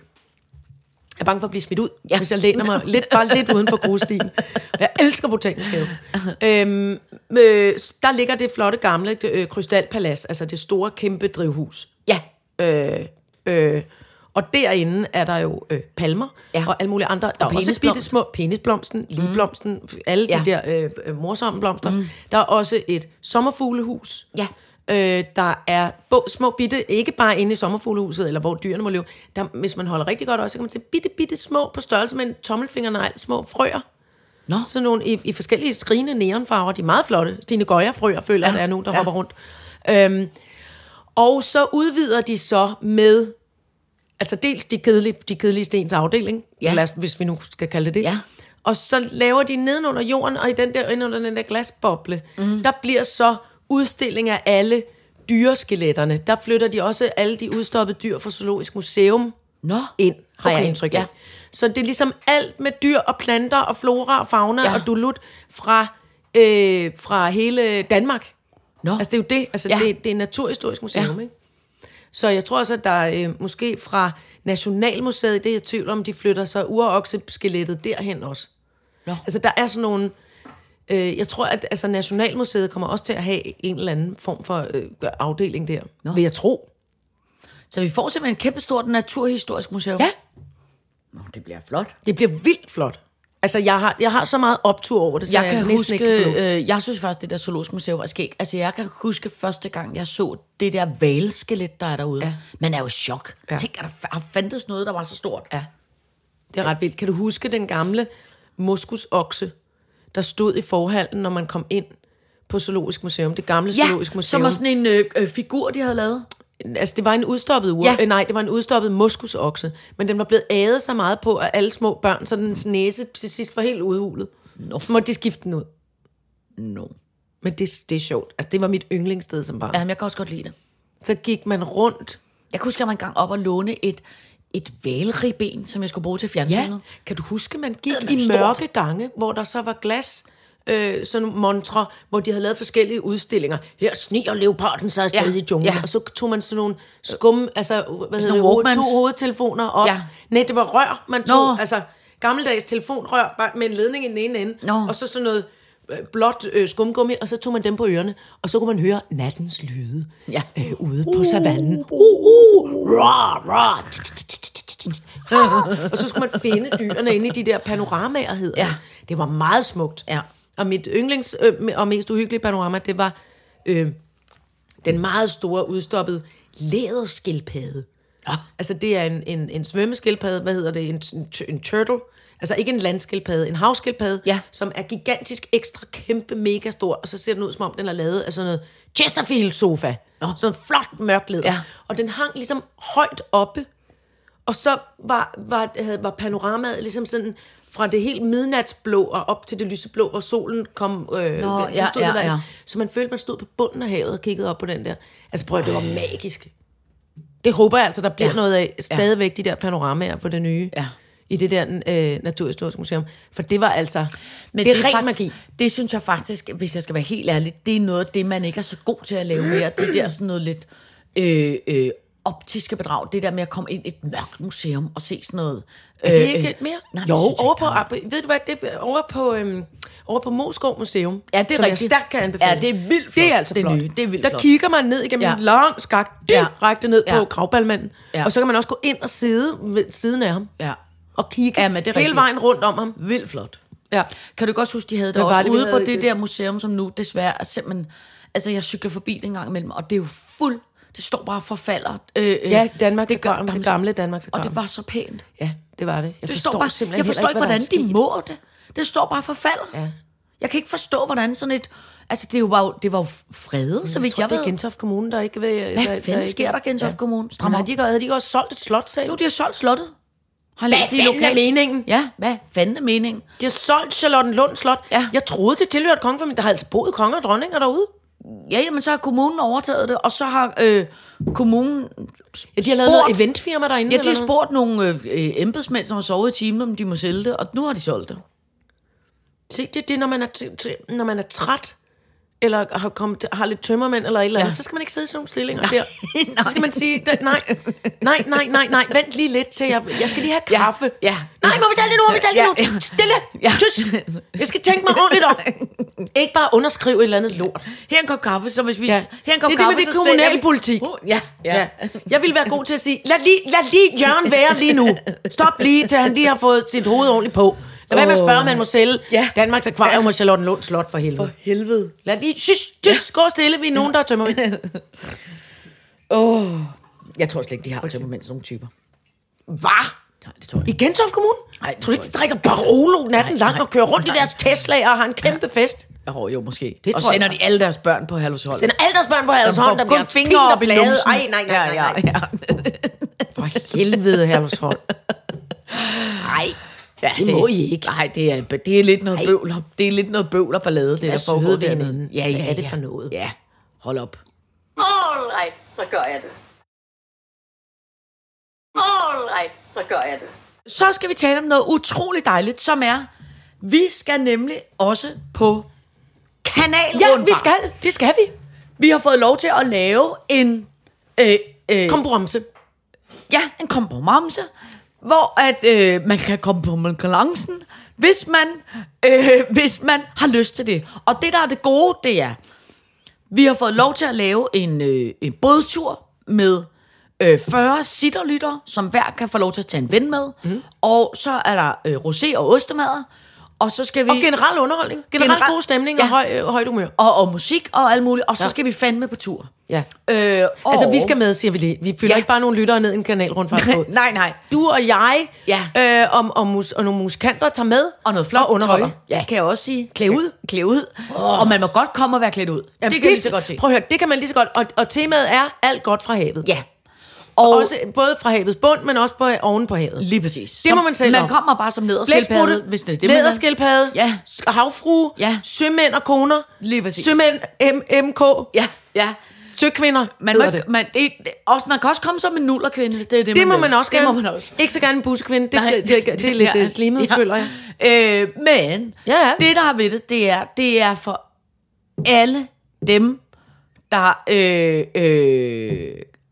Speaker 3: Jeg er bange for at blive smidt ud,
Speaker 4: Ja.
Speaker 3: ja. hvis jeg læner mig lidt, bare lidt uden for grusstien. Jeg elsker botanisk have. Øhm, øh, s- der ligger det flotte gamle øh, krystalpalads, altså det store kæmpe drivhus.
Speaker 4: Ja,
Speaker 3: Øh, og derinde er der jo øh, palmer
Speaker 4: Ja.
Speaker 3: ja. og alle mulige andre. Der er også
Speaker 4: penisblomst.
Speaker 3: bitte små penisblomsten, ligblomsten, alle
Speaker 4: Ja.
Speaker 3: de der øh, øh, morsomme blomster. Mm. Der er også et sommerfuglehus.
Speaker 4: Ja.
Speaker 3: Øh, der er bo, små bitte, ikke bare inde i sommerfuglehuset, eller hvor dyrene må leve. Der, hvis man holder rigtig godt øje, så kan man se bitte, bitte små, på størrelse med en tommelfingernegl, små frøer.
Speaker 4: Nå.
Speaker 3: Sådan nogle i, i forskellige skrigende neonfarver. De er meget flotte. Stine Gøjer-frøer føler jeg,
Speaker 4: Ja.
Speaker 3: der er nogen, der
Speaker 4: Ja.
Speaker 3: ja. hopper rundt. Øhm, og så udvider de så med, altså dels de kedelige, de kedelige stens afdeling,
Speaker 4: Ja.
Speaker 3: ja. lad os, hvis vi nu skal kalde det det.
Speaker 4: Ja.
Speaker 3: Og så laver de nedenunder jorden, og i den der, inde under den der glasboble,
Speaker 4: Mhm.
Speaker 3: mm. der bliver så udstilling af alle dyreskeletterne. Der flytter de også alle de udstoppede dyr fra Zoologisk Museum
Speaker 4: Nå.
Speaker 3: ind, har okay.
Speaker 4: Okay,
Speaker 3: jeg indtryk af.
Speaker 4: ja.
Speaker 3: Ja. Så det er ligesom alt med dyr og planter og flora og fauna
Speaker 4: Ja.
Speaker 3: ja. og dulut fra, øh, fra hele Danmark.
Speaker 4: Nå.
Speaker 3: Altså det er jo det, altså
Speaker 4: Ja.
Speaker 3: ja. det, det er et naturhistorisk museum,
Speaker 4: Ja.
Speaker 3: ja. ikke? Så jeg tror også, at der øh, måske fra Nationalmuseet, det er jeg i tvivl om, de flytter så urokseskelettet derhen også.
Speaker 4: Nå.
Speaker 3: Altså der er sådan nogle, øh, jeg tror, at altså, Nationalmuseet kommer også til at have en eller anden form for øh, afdeling der,
Speaker 4: Nå.
Speaker 3: Nå. vil jeg tro.
Speaker 4: Så vi får simpelthen et kæmpe stort naturhistorisk museum.
Speaker 3: Ja,
Speaker 4: Nå, det bliver flot.
Speaker 3: det bliver vildt flot. Altså jeg har, jeg har så meget optur over det, så
Speaker 4: Jeg
Speaker 3: jeg,
Speaker 4: kan
Speaker 3: næsten ikke kan få luft.
Speaker 4: huske, øh, jeg synes faktisk, det der zoologisk museum var skægt. Altså, jeg kan huske første gang, jeg så det der valskelet, der er derude. Ja.
Speaker 3: Ja.
Speaker 4: Man er jo i chok. Ja.
Speaker 3: Ja.
Speaker 4: Tænk, at der fa- har fandtes noget, der var så stort.
Speaker 3: Ja. øh, Det er ret vildt. Kan du huske den gamle moskusokse, der stod i forhallen, når man kom ind på Zoologisk Museum, det gamle Zoologisk Museum.
Speaker 4: som var sådan en øh, øh, figur, de havde lavet.
Speaker 3: Altså, det var en udstoppet ur.
Speaker 4: Ja.
Speaker 3: Ja. Øh, nej, det var en udstoppet moskusokse. Men den var blevet ædet så meget på af alle små børn, så dens næse til sidst var helt udhulet. No. Så måtte de skifte den ud.
Speaker 4: No.
Speaker 3: Men det, det er sjovt. Altså, det var mit yndlingssted som barn. Ja.
Speaker 4: Jamen, jeg kan også godt lide det.
Speaker 3: Så gik man rundt.
Speaker 4: Jeg kan huske, at jeg var engang op og låne et, et valribben, som jeg skulle bruge til fjernsynet. Ja.
Speaker 3: Kan du huske, man gik
Speaker 4: Eddermame
Speaker 3: i
Speaker 4: stort.
Speaker 3: mørke gange, hvor der så var glas, øh, sådan nogle montre, hvor de havde lavet forskellige udstillinger. Her sniger leoparden sig afsted
Speaker 4: Ja,
Speaker 3: ja, i junglen,
Speaker 4: ja.
Speaker 3: ja. og så tog man sådan nogle skum, altså, hvad hedder
Speaker 4: nogle
Speaker 3: det, hoved,
Speaker 4: Walkmans.
Speaker 3: to hovedtelefoner op.
Speaker 4: Ja.
Speaker 3: Ja. Nej, det var rør, man tog.
Speaker 4: Nå.
Speaker 3: Altså, gammeldags telefonrør bare med en ledning i den ene ende,
Speaker 4: Nå.
Speaker 3: og så sådan noget øh, blåt øh, skumgummi, og så tog man dem på ørerne, og så kunne man høre nattens lyde
Speaker 4: Ja. Uh,
Speaker 3: øh, ude på savannen.
Speaker 4: Rah, rah.
Speaker 3: Og så skulle man finde dyrene inde i de der panoramaer, hedder
Speaker 4: Ja.
Speaker 3: det. Det var meget smukt.
Speaker 4: Ja.
Speaker 3: Og mit yndlings øh, og mest uhyggelige panorama, det var øh, den meget store udstoppede læderskildpadde. Ja. Altså det er en, en, en svømmeskildpadde, hvad hedder det, en, en, tu- en turtle. Altså ikke en landskildpadde, en havskildpadde,
Speaker 4: Ja.
Speaker 3: som er gigantisk ekstra kæmpe mega stor, og så ser den ud som om den er lavet af sådan noget Chesterfield sofa. Sådan noget flot mørk læder.
Speaker 4: Ja.
Speaker 3: Og den hang ligesom højt oppe. Og så var, var, havde, var panoramaet ligesom sådan fra det helt midnatsblå og op til det lyseblå, hvor solen kom. Øh, Nå, så,
Speaker 4: ja,
Speaker 3: det
Speaker 4: ja,
Speaker 3: der.
Speaker 4: ja.
Speaker 3: så man følte, man stod på bunden af havet og kiggede op på den der. Altså prøv at høre, det var magisk. Det håber jeg altså, der bliver
Speaker 4: Ja.
Speaker 3: ja. noget af stadigvæk de der panoramaer på det nye.
Speaker 4: Ja.
Speaker 3: I det der øh, Naturhistoriske Museum. For det var altså...
Speaker 4: Men
Speaker 3: det er ren
Speaker 4: faktisk,
Speaker 3: magi.
Speaker 4: Det synes jeg faktisk, hvis jeg skal være helt ærlig, det er noget af det, man ikke er så god til at lave mere. Det der sådan noget lidt øh, øh, optiske bedrag. Det der med at komme ind i et mørkt museum og se sådan noget. øh,
Speaker 3: Er det ikke mere?
Speaker 4: Nej,
Speaker 3: Øh, jo,
Speaker 4: det synes jeg
Speaker 3: over
Speaker 4: ikke,
Speaker 3: på,
Speaker 4: der er.
Speaker 3: ved du hvad, det er over på, øhm, over på Moskov Museum.
Speaker 4: Ja, det er
Speaker 3: som
Speaker 4: rigtigt.
Speaker 3: Jeg stærkt kan anbefale.
Speaker 4: Ja, det er vildt flot.
Speaker 3: Det er altså
Speaker 4: Det er
Speaker 3: flot.
Speaker 4: nye. Det er vildt
Speaker 3: Der
Speaker 4: flot.
Speaker 3: kigger man ned igennem
Speaker 4: Ja.
Speaker 3: ja. en lang skak,
Speaker 4: Ja.
Speaker 3: direkte ned
Speaker 4: Ja.
Speaker 3: på gravbalmanden.
Speaker 4: Ja.
Speaker 3: Ja. Og så kan man også gå ind og sidde ved siden af ham.
Speaker 4: Ja.
Speaker 3: Og kigge
Speaker 4: Ja, men det er
Speaker 3: hele
Speaker 4: rigtigt.
Speaker 3: vejen rundt om ham.
Speaker 4: Vildt flot.
Speaker 3: Ja.
Speaker 4: Kan du godt huske, de havde det
Speaker 3: Hvad
Speaker 4: også
Speaker 3: var
Speaker 4: det,
Speaker 3: det, vi
Speaker 4: ude på
Speaker 3: havde?
Speaker 4: det der museum, som nu desværre er simpelthen... Altså, jeg cykler forbi det en gang imellem, og det er jo fuld... Det står bare og forfalder. Øh, øh,
Speaker 3: Ja, Danmark det,
Speaker 4: gør-
Speaker 3: gør, det gamle Danmark
Speaker 4: Og det var så pænt.
Speaker 3: Ja, det var det. Jeg
Speaker 4: Det står bare, jeg forstår ikke, hvordan de må det. Det står bare for falder.
Speaker 3: Ja.
Speaker 4: Jeg kan ikke forstå, hvordan sådan et... Altså, det var jo, det var jo fredet, så vidt
Speaker 3: Jeg
Speaker 4: jeg,
Speaker 3: tror, det
Speaker 4: ved.
Speaker 3: er Gentofte Kommune, der ikke ved...
Speaker 4: Hvad fanden sker der, Gentofte Kommune? Stram
Speaker 3: Strammer.
Speaker 4: op.
Speaker 3: Har de, ikke- havde de ikke også solgt et slot, sagde
Speaker 4: Jo,
Speaker 3: du?
Speaker 4: de har solgt slottet. Har læst det i
Speaker 3: fanden er
Speaker 4: lokal-
Speaker 3: meningen?
Speaker 4: Ja, hvad fanden er meningen?
Speaker 3: De har solgt Charlottenlund Slot.
Speaker 4: Ja.
Speaker 3: Jeg troede, det tilhørte kongefamilien. Der har altså boet konger og dronninger derude.
Speaker 4: Ja, jamen, så har kommunen overtaget det, og så har øh, kommunen...
Speaker 3: Ja, de har lavet noget eventfirma derinde.
Speaker 4: Ja, de har
Speaker 3: eller noget.
Speaker 4: spurgt nogle øh, øh, embedsmænd, som har sovet i timen, om de må sælge det, og nu har de solgt det.
Speaker 3: Se, det er det, når man er, t- t- når man er træt, eller har, kommet, har lidt tømmermænd eller et eller andet,
Speaker 4: Ja.
Speaker 3: ja. så skal man ikke sidde i sådan nogle stillinger der. Så skal man sige, da- nej, nej, nej, nej, nej, vent lige lidt til, jeg, jeg skal lige have kaffe.
Speaker 4: ja.
Speaker 3: Nej, må vi tale lige nu, må vi tale lige
Speaker 4: Ja,
Speaker 3: nu. Stille,
Speaker 4: Ja.
Speaker 3: tys, jeg skal tænke mig ordentligt om. Ikke bare underskrive et eller andet lort.
Speaker 4: Her er en kop kaffe, så hvis vi...
Speaker 3: Ja.
Speaker 4: Her er en kop
Speaker 3: Det er det
Speaker 4: kaffe,
Speaker 3: med det
Speaker 4: så sælger vi-
Speaker 3: kommunalpolitik.
Speaker 4: Uh, ja, ja.
Speaker 3: Ja. Jeg ville være god til at sige, lad lige, lad lige Jørgen være lige nu. Stop lige, til han lige har fået sit hoved ordentligt på. Lad være med at spørge, om man må sælge
Speaker 4: Ja.
Speaker 3: ja. Danmarks Akvarium og Charlottenlund Slot for helvede. For helvede. Lad lige, sys, sys, gå stille, vi er nogen, der tømmer.
Speaker 4: Jeg tror slet ikke, de har temperament sådan nogle typer.
Speaker 3: Hvad?
Speaker 4: Nej, det tror jeg
Speaker 3: I
Speaker 4: ikke.
Speaker 3: Gentofte Kommune?
Speaker 4: Nej, det
Speaker 3: tror du ikke,
Speaker 4: tror
Speaker 3: de drikker Barolo natten
Speaker 4: Nej,
Speaker 3: lang
Speaker 4: nej,
Speaker 3: og kører rundt
Speaker 4: nej.
Speaker 3: i deres Tesla og har en kæmpe fest?
Speaker 4: Jo, jo, måske.
Speaker 3: Det
Speaker 4: og
Speaker 3: tror jeg
Speaker 4: sender
Speaker 3: ikke.
Speaker 4: de alle deres børn på Halvsholm.
Speaker 3: Sender alle deres børn på
Speaker 4: Som
Speaker 3: Herlus
Speaker 4: får
Speaker 3: Holm, der bliver
Speaker 4: kun fingre
Speaker 3: fingre og
Speaker 4: op i
Speaker 3: blade.
Speaker 4: lumsen.
Speaker 3: Ej, nej, nej, nej, nej.
Speaker 4: Ja, ja,
Speaker 3: For helvede, Herlus Holm. Nej.
Speaker 4: ja.
Speaker 3: Det må I ikke.
Speaker 4: Nej, det er, det er lidt noget bøvl. og- Det er lidt noget bøvl og ballade, det,
Speaker 3: er
Speaker 4: der foregår
Speaker 3: søde ved
Speaker 4: dernede.
Speaker 3: hinanden.
Speaker 4: Ja, ja,
Speaker 3: Hvad er det
Speaker 4: ja.
Speaker 3: for noget?
Speaker 4: Ja, hold op.
Speaker 2: Alright, så gør jeg det. Alright, så gør jeg det.
Speaker 4: Så skal vi tale om noget utroligt dejligt, som er, vi skal nemlig også på
Speaker 3: Ja,
Speaker 4: kanalrundfart.
Speaker 3: vi skal. Det skal vi.
Speaker 4: Vi har fået lov til at lave en... Øh, øh,
Speaker 3: Kompromise.
Speaker 4: Ja, en kompromamse, hvor at øh, man kan komme på balancen, hvis man, øh, hvis man har lyst til det. Og det, der er det gode, det er, vi har fået lov til at lave en, øh, en bådtur med øh, 40 sitterlytter, som hver kan få lov til at tage en ven med. Mm. Og så er der øh, rosé og ostemader. Og så skal vi...
Speaker 3: Og generel underholdning. Generelt
Speaker 4: Generel-
Speaker 3: Generel... god stemning
Speaker 4: Ja.
Speaker 3: og høj, øh, højt humør.
Speaker 4: og, og musik og alt muligt. Og så
Speaker 3: Ja.
Speaker 4: skal vi fandme på tur.
Speaker 3: Ja.
Speaker 4: Øh, og,
Speaker 3: Altså, vi skal med, siger vi lige. Vi fylder
Speaker 4: Ja.
Speaker 3: ja. ikke bare nogle lyttere ned i en kanal rundt fra
Speaker 4: Nej, nej.
Speaker 3: Du og jeg,
Speaker 4: Ja.
Speaker 3: øh, om, om mus, og nogle musikanter tager med.
Speaker 4: Og noget flot
Speaker 3: og underholder.
Speaker 4: tøj, ja. kan jeg også sige. Klæd ud. Klæd ud. Oh.
Speaker 3: Åh.
Speaker 4: Og man må godt komme og være klædt ud.
Speaker 3: Jamen,
Speaker 4: det kan jeg lige så godt se.
Speaker 3: Prøv at høre, det kan man lige så godt. Og, og temaet er alt godt fra havet.
Speaker 4: Ja. Og
Speaker 3: Også, både fra havets bund, men også på, oven på havet.
Speaker 4: lige præcis.
Speaker 3: Det
Speaker 4: Så
Speaker 3: må man selv
Speaker 4: Man
Speaker 3: om.
Speaker 4: kommer bare som lederskildpadde, hvis det er det, man er.
Speaker 3: læderskildpadde,
Speaker 4: Ja.
Speaker 3: s- havfrue,
Speaker 4: Ja.
Speaker 3: sømænd og koner,
Speaker 4: Lige præcis.
Speaker 3: sømænd, M- MK,
Speaker 4: Ja, ja.
Speaker 3: søkvinder,
Speaker 4: Man, må,
Speaker 3: hedder
Speaker 4: ikke- man, det, det, også, man kan også komme som en nullerkvinde, hvis det er det,
Speaker 3: Det må
Speaker 4: vil.
Speaker 3: man også
Speaker 4: Det
Speaker 3: gerne.
Speaker 4: må man også.
Speaker 3: Ikke så gerne en buskvinde. Det,
Speaker 4: Nej,
Speaker 3: det, det, det, det er lidt
Speaker 4: ja,
Speaker 3: ja, slimet,
Speaker 4: ja.
Speaker 3: ja. føler jeg.
Speaker 4: Øh, men
Speaker 3: Ja, ja.
Speaker 4: det, der er ved det, det er, det er for alle dem, der øh, øh,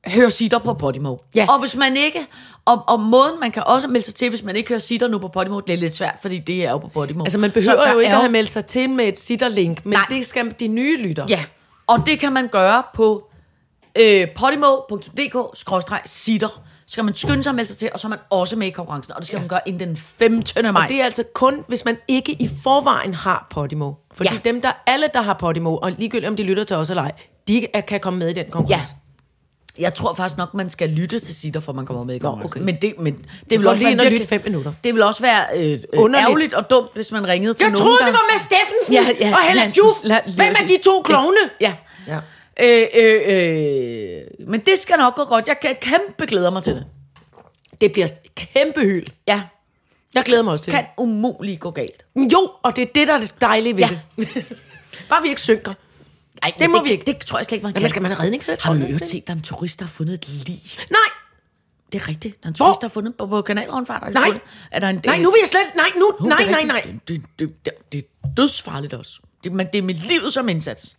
Speaker 4: hører sitter på Podimo.
Speaker 3: Ja.
Speaker 4: Og hvis man ikke, og, og måden man kan også melde sig til, hvis man ikke hører sitter nu på Podimo, det er lidt svært, fordi det er jo på Podimo.
Speaker 3: Altså, man
Speaker 4: Så
Speaker 3: behøver
Speaker 4: der
Speaker 3: jo ikke
Speaker 4: er
Speaker 3: at have meldt sig til med et sitterlink, men
Speaker 4: Nej.
Speaker 3: det skal de nye lytter.
Speaker 4: Ja, og det kan man gøre på øh, podimo.dk-sitter. Så kan man skynde sig at melde sig til, og så er man også med i konkurrencen. Og det skal ja. man gøre inden den 15. maj.
Speaker 3: Og det er altså kun, hvis man ikke i forvejen har Podimo. Fordi ja.
Speaker 4: Ja.
Speaker 3: dem, der alle, der har Podimo, og ligegyldigt om de lytter til os eller ej, de er- kan komme med i den
Speaker 4: Ja.
Speaker 3: konkurrence.
Speaker 4: Jeg tror faktisk nok, man skal lytte til sitter, for man kommer med i konkurrencen.
Speaker 3: okay.
Speaker 4: Men det, men det vil
Speaker 3: går
Speaker 4: også
Speaker 3: lige
Speaker 4: være
Speaker 3: ind og lyt
Speaker 4: virkelig-
Speaker 3: fem minutter.
Speaker 4: Det vil også være øh, øh,
Speaker 3: Underligt.
Speaker 4: ærgerligt og dumt, hvis man ringede til
Speaker 3: Jeg
Speaker 4: nogen,
Speaker 3: troede,
Speaker 4: der...
Speaker 3: det var med Steffensen
Speaker 4: Ja, ja,
Speaker 3: og Hella
Speaker 4: ja,
Speaker 3: Juf.
Speaker 4: la- lige
Speaker 3: Hvem er de
Speaker 4: præcis.
Speaker 3: to klovne?
Speaker 4: Ja.
Speaker 3: Ja.
Speaker 4: Øh, øh, øh, men det skal nok gå godt. Jeg kan kæmpe glæder mig til det.
Speaker 3: Uh. Det bliver kæmpe hyld.
Speaker 4: Ja.
Speaker 3: Jeg glæder mig også til
Speaker 4: Kan umuligt gå galt.
Speaker 3: det. Jo, og det er det, der er det dejlige ved ja.
Speaker 4: Ja.
Speaker 3: det. Bare vi ikke synker.
Speaker 4: Nej,
Speaker 3: det må vi ikke.
Speaker 4: Det tror jeg slet ikke, man kan.
Speaker 3: Jamen, skal man have redningsvest?
Speaker 4: Har du
Speaker 3: på?
Speaker 4: i øvrigt set, der er en turist, der har fundet et lig?
Speaker 3: Nej,
Speaker 4: Det er rigtigt. Der er en turist, der har fundet på, på kanalrundfart.
Speaker 3: Nej.
Speaker 4: Er der en,
Speaker 3: nej, nu vil jeg slet... Nej, nu, nej, nej, nej.
Speaker 4: Det, det, det, det, det er dødsfarligt også. Det, men det er med livet som indsats.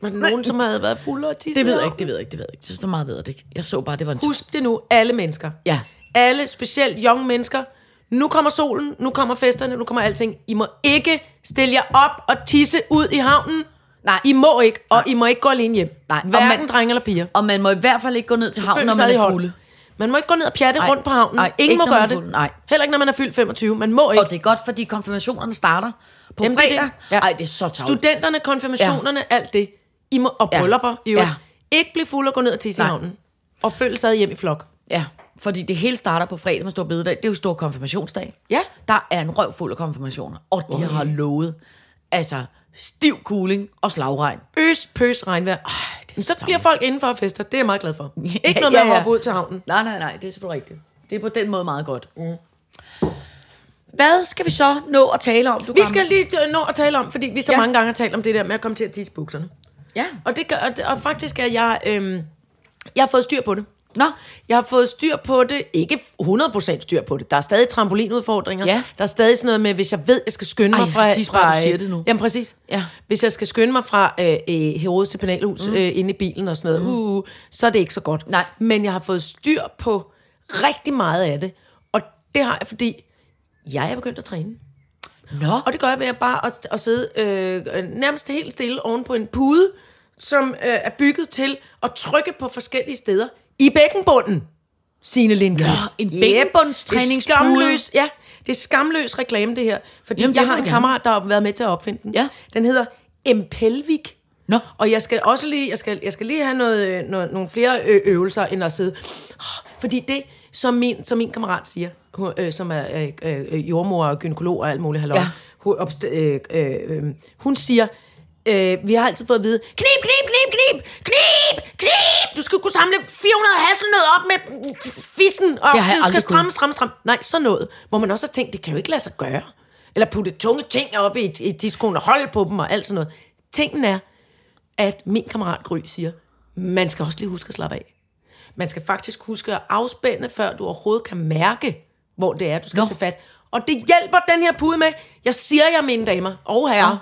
Speaker 3: Var der nogen, som havde været fulde og tisse?
Speaker 4: Det ved jeg ikke, det ved jeg ikke, det ved jeg ikke. Så meget ved jeg det ikke. Jeg så bare, det var en tur-
Speaker 3: Husk det nu, alle mennesker.
Speaker 4: Ja.
Speaker 3: Alle, specielt young mennesker. Nu kommer solen, nu kommer festerne, nu kommer alting. I må ikke stille jer op og tisse ud i havnen.
Speaker 4: Nej.
Speaker 3: I må ikke, og I må ikke gå alene hjem.
Speaker 4: Nej, og
Speaker 3: Hverken
Speaker 4: man-
Speaker 3: drenge eller piger.
Speaker 4: Og man må i hvert fald ikke gå ned til havnen, når
Speaker 3: Følg
Speaker 4: man
Speaker 3: sad i
Speaker 4: er
Speaker 3: hold.
Speaker 4: fulde.
Speaker 3: Man må ikke gå ned og pjatte
Speaker 4: Nej.
Speaker 3: rundt på havnen.
Speaker 4: Nej,
Speaker 3: Ingen
Speaker 4: ikke
Speaker 3: må
Speaker 4: når man
Speaker 3: gøre
Speaker 4: er
Speaker 3: det.
Speaker 4: fuld. Nej.
Speaker 3: Heller ikke, når man er fyldt 25. Man må ikke.
Speaker 4: Og det er godt, fordi konfirmationerne starter på
Speaker 3: Jamen, det er
Speaker 4: fredag. Nej,
Speaker 3: det. Ja.
Speaker 4: det er så tavligt.
Speaker 3: Studenterne, konfirmationerne, ja. alt det. I må, og
Speaker 4: Ja.
Speaker 3: bryllupper, i øvrigt. Ja.
Speaker 4: Ja.
Speaker 3: Ikke blive fuld og gå ned og tisse i
Speaker 4: Nej.
Speaker 3: havnen. Og følg sad hjem i flok.
Speaker 4: Ja, fordi det hele starter på fredag med stor bededag. Det er jo stor konfirmationsdag.
Speaker 3: Ja.
Speaker 4: Der er en røv fuld af konfirmationer, og de har lovet altså stiv kuling og slagregn.
Speaker 3: Øs, pøs, regnvejr. Øh, det så bliver folk indenfor og fester. Det er jeg meget glad for. Ikke noget med
Speaker 4: ja,
Speaker 3: at
Speaker 4: ja.
Speaker 3: hoppe ud til havnen.
Speaker 4: Nej, nej, nej, det er selvfølgelig rigtigt. Det er på den måde meget godt. Mm. Hvad skal vi så nå at tale om? Du
Speaker 3: Vi
Speaker 4: gamle?
Speaker 3: skal lige øh, nå at tale om, fordi vi så ja.
Speaker 4: Ja.
Speaker 3: mange gange har talt om det der med at komme til at tisse i bukserne.
Speaker 4: Ja.
Speaker 3: Og, det gør, og, det- og faktisk er jeg... Øhm, jeg har fået styr på det.
Speaker 4: Nå,
Speaker 3: Jeg har fået styr på det. Ikke 100% styr på det. Der er stadig trampolinudfordringer.
Speaker 4: Ja.
Speaker 3: Der er stadig sådan noget med, hvis jeg ved, jeg skal skynde
Speaker 4: Ej,
Speaker 3: mig
Speaker 4: jeg
Speaker 3: fra...
Speaker 4: skal tisse bare, du siger det nu.
Speaker 3: Jamen præcis.
Speaker 4: Ja.
Speaker 3: Hvis jeg skal skynde mig fra øh, øh, Herodes til Penalhus mm. øh, inde i bilen og sådan noget, mm. uh, uh, så er det ikke så godt.
Speaker 4: Nej.
Speaker 3: Men jeg har fået styr på rigtig meget af det. Og det har jeg, fordi jeg er begyndt at træne.
Speaker 4: nå.
Speaker 3: Og det gør jeg ved at bare at, at sidde øh, øh, nærmest helt stille oven på en pude, som øh, er bygget til at trykke på forskellige steder i bækkenbunden, Signe Lindqvist.
Speaker 4: Nå, en
Speaker 3: Det er
Speaker 4: bækkenbundstræningspude.
Speaker 3: skamløs, ja, det er skamløs reklame, det her. Fordi
Speaker 4: Jamen,
Speaker 3: Jamen, jeg
Speaker 4: det må
Speaker 3: har en
Speaker 4: du gerne.
Speaker 3: kammerat, der har været med til at opfinde den.
Speaker 4: Ja.
Speaker 3: Den hedder Empelvik.
Speaker 4: Nå.
Speaker 3: Og jeg skal også lige, jeg skal, jeg skal lige have noget, øh, noget, nogle flere ø- øvelser, end at sidde... Fordi det, som min, som min kammerat siger, hun, øh, som er øh, øh, jordmor og gynekolog og alt muligt halløj, ja.
Speaker 4: Ja.
Speaker 3: hun, opst- øh, øh, øh, hun siger, øh, vi har altid fået at vide, knib, knib, knib, knib, knib, knib, du skal kunne samle 400 hasselnød op med fissen, og
Speaker 4: Det har jeg
Speaker 3: du skal
Speaker 4: aldrig kunnet.
Speaker 3: stramme, stramme, stramme. Nej, sådan noget, hvor man også har tænkt, det kan jo ikke lade sig gøre. Eller putte tunge ting op i, i diskoen og holde på dem og alt sådan noget. Tingen er, at min kammerat Gry siger, man skal også lige huske at slappe af. Man skal faktisk huske at afspænde, før du overhovedet kan mærke, hvor det er, du skal Nå.
Speaker 4: Nå.
Speaker 3: tage fat. Og det hjælper den her pude med. Jeg siger jer, mine damer og herrer,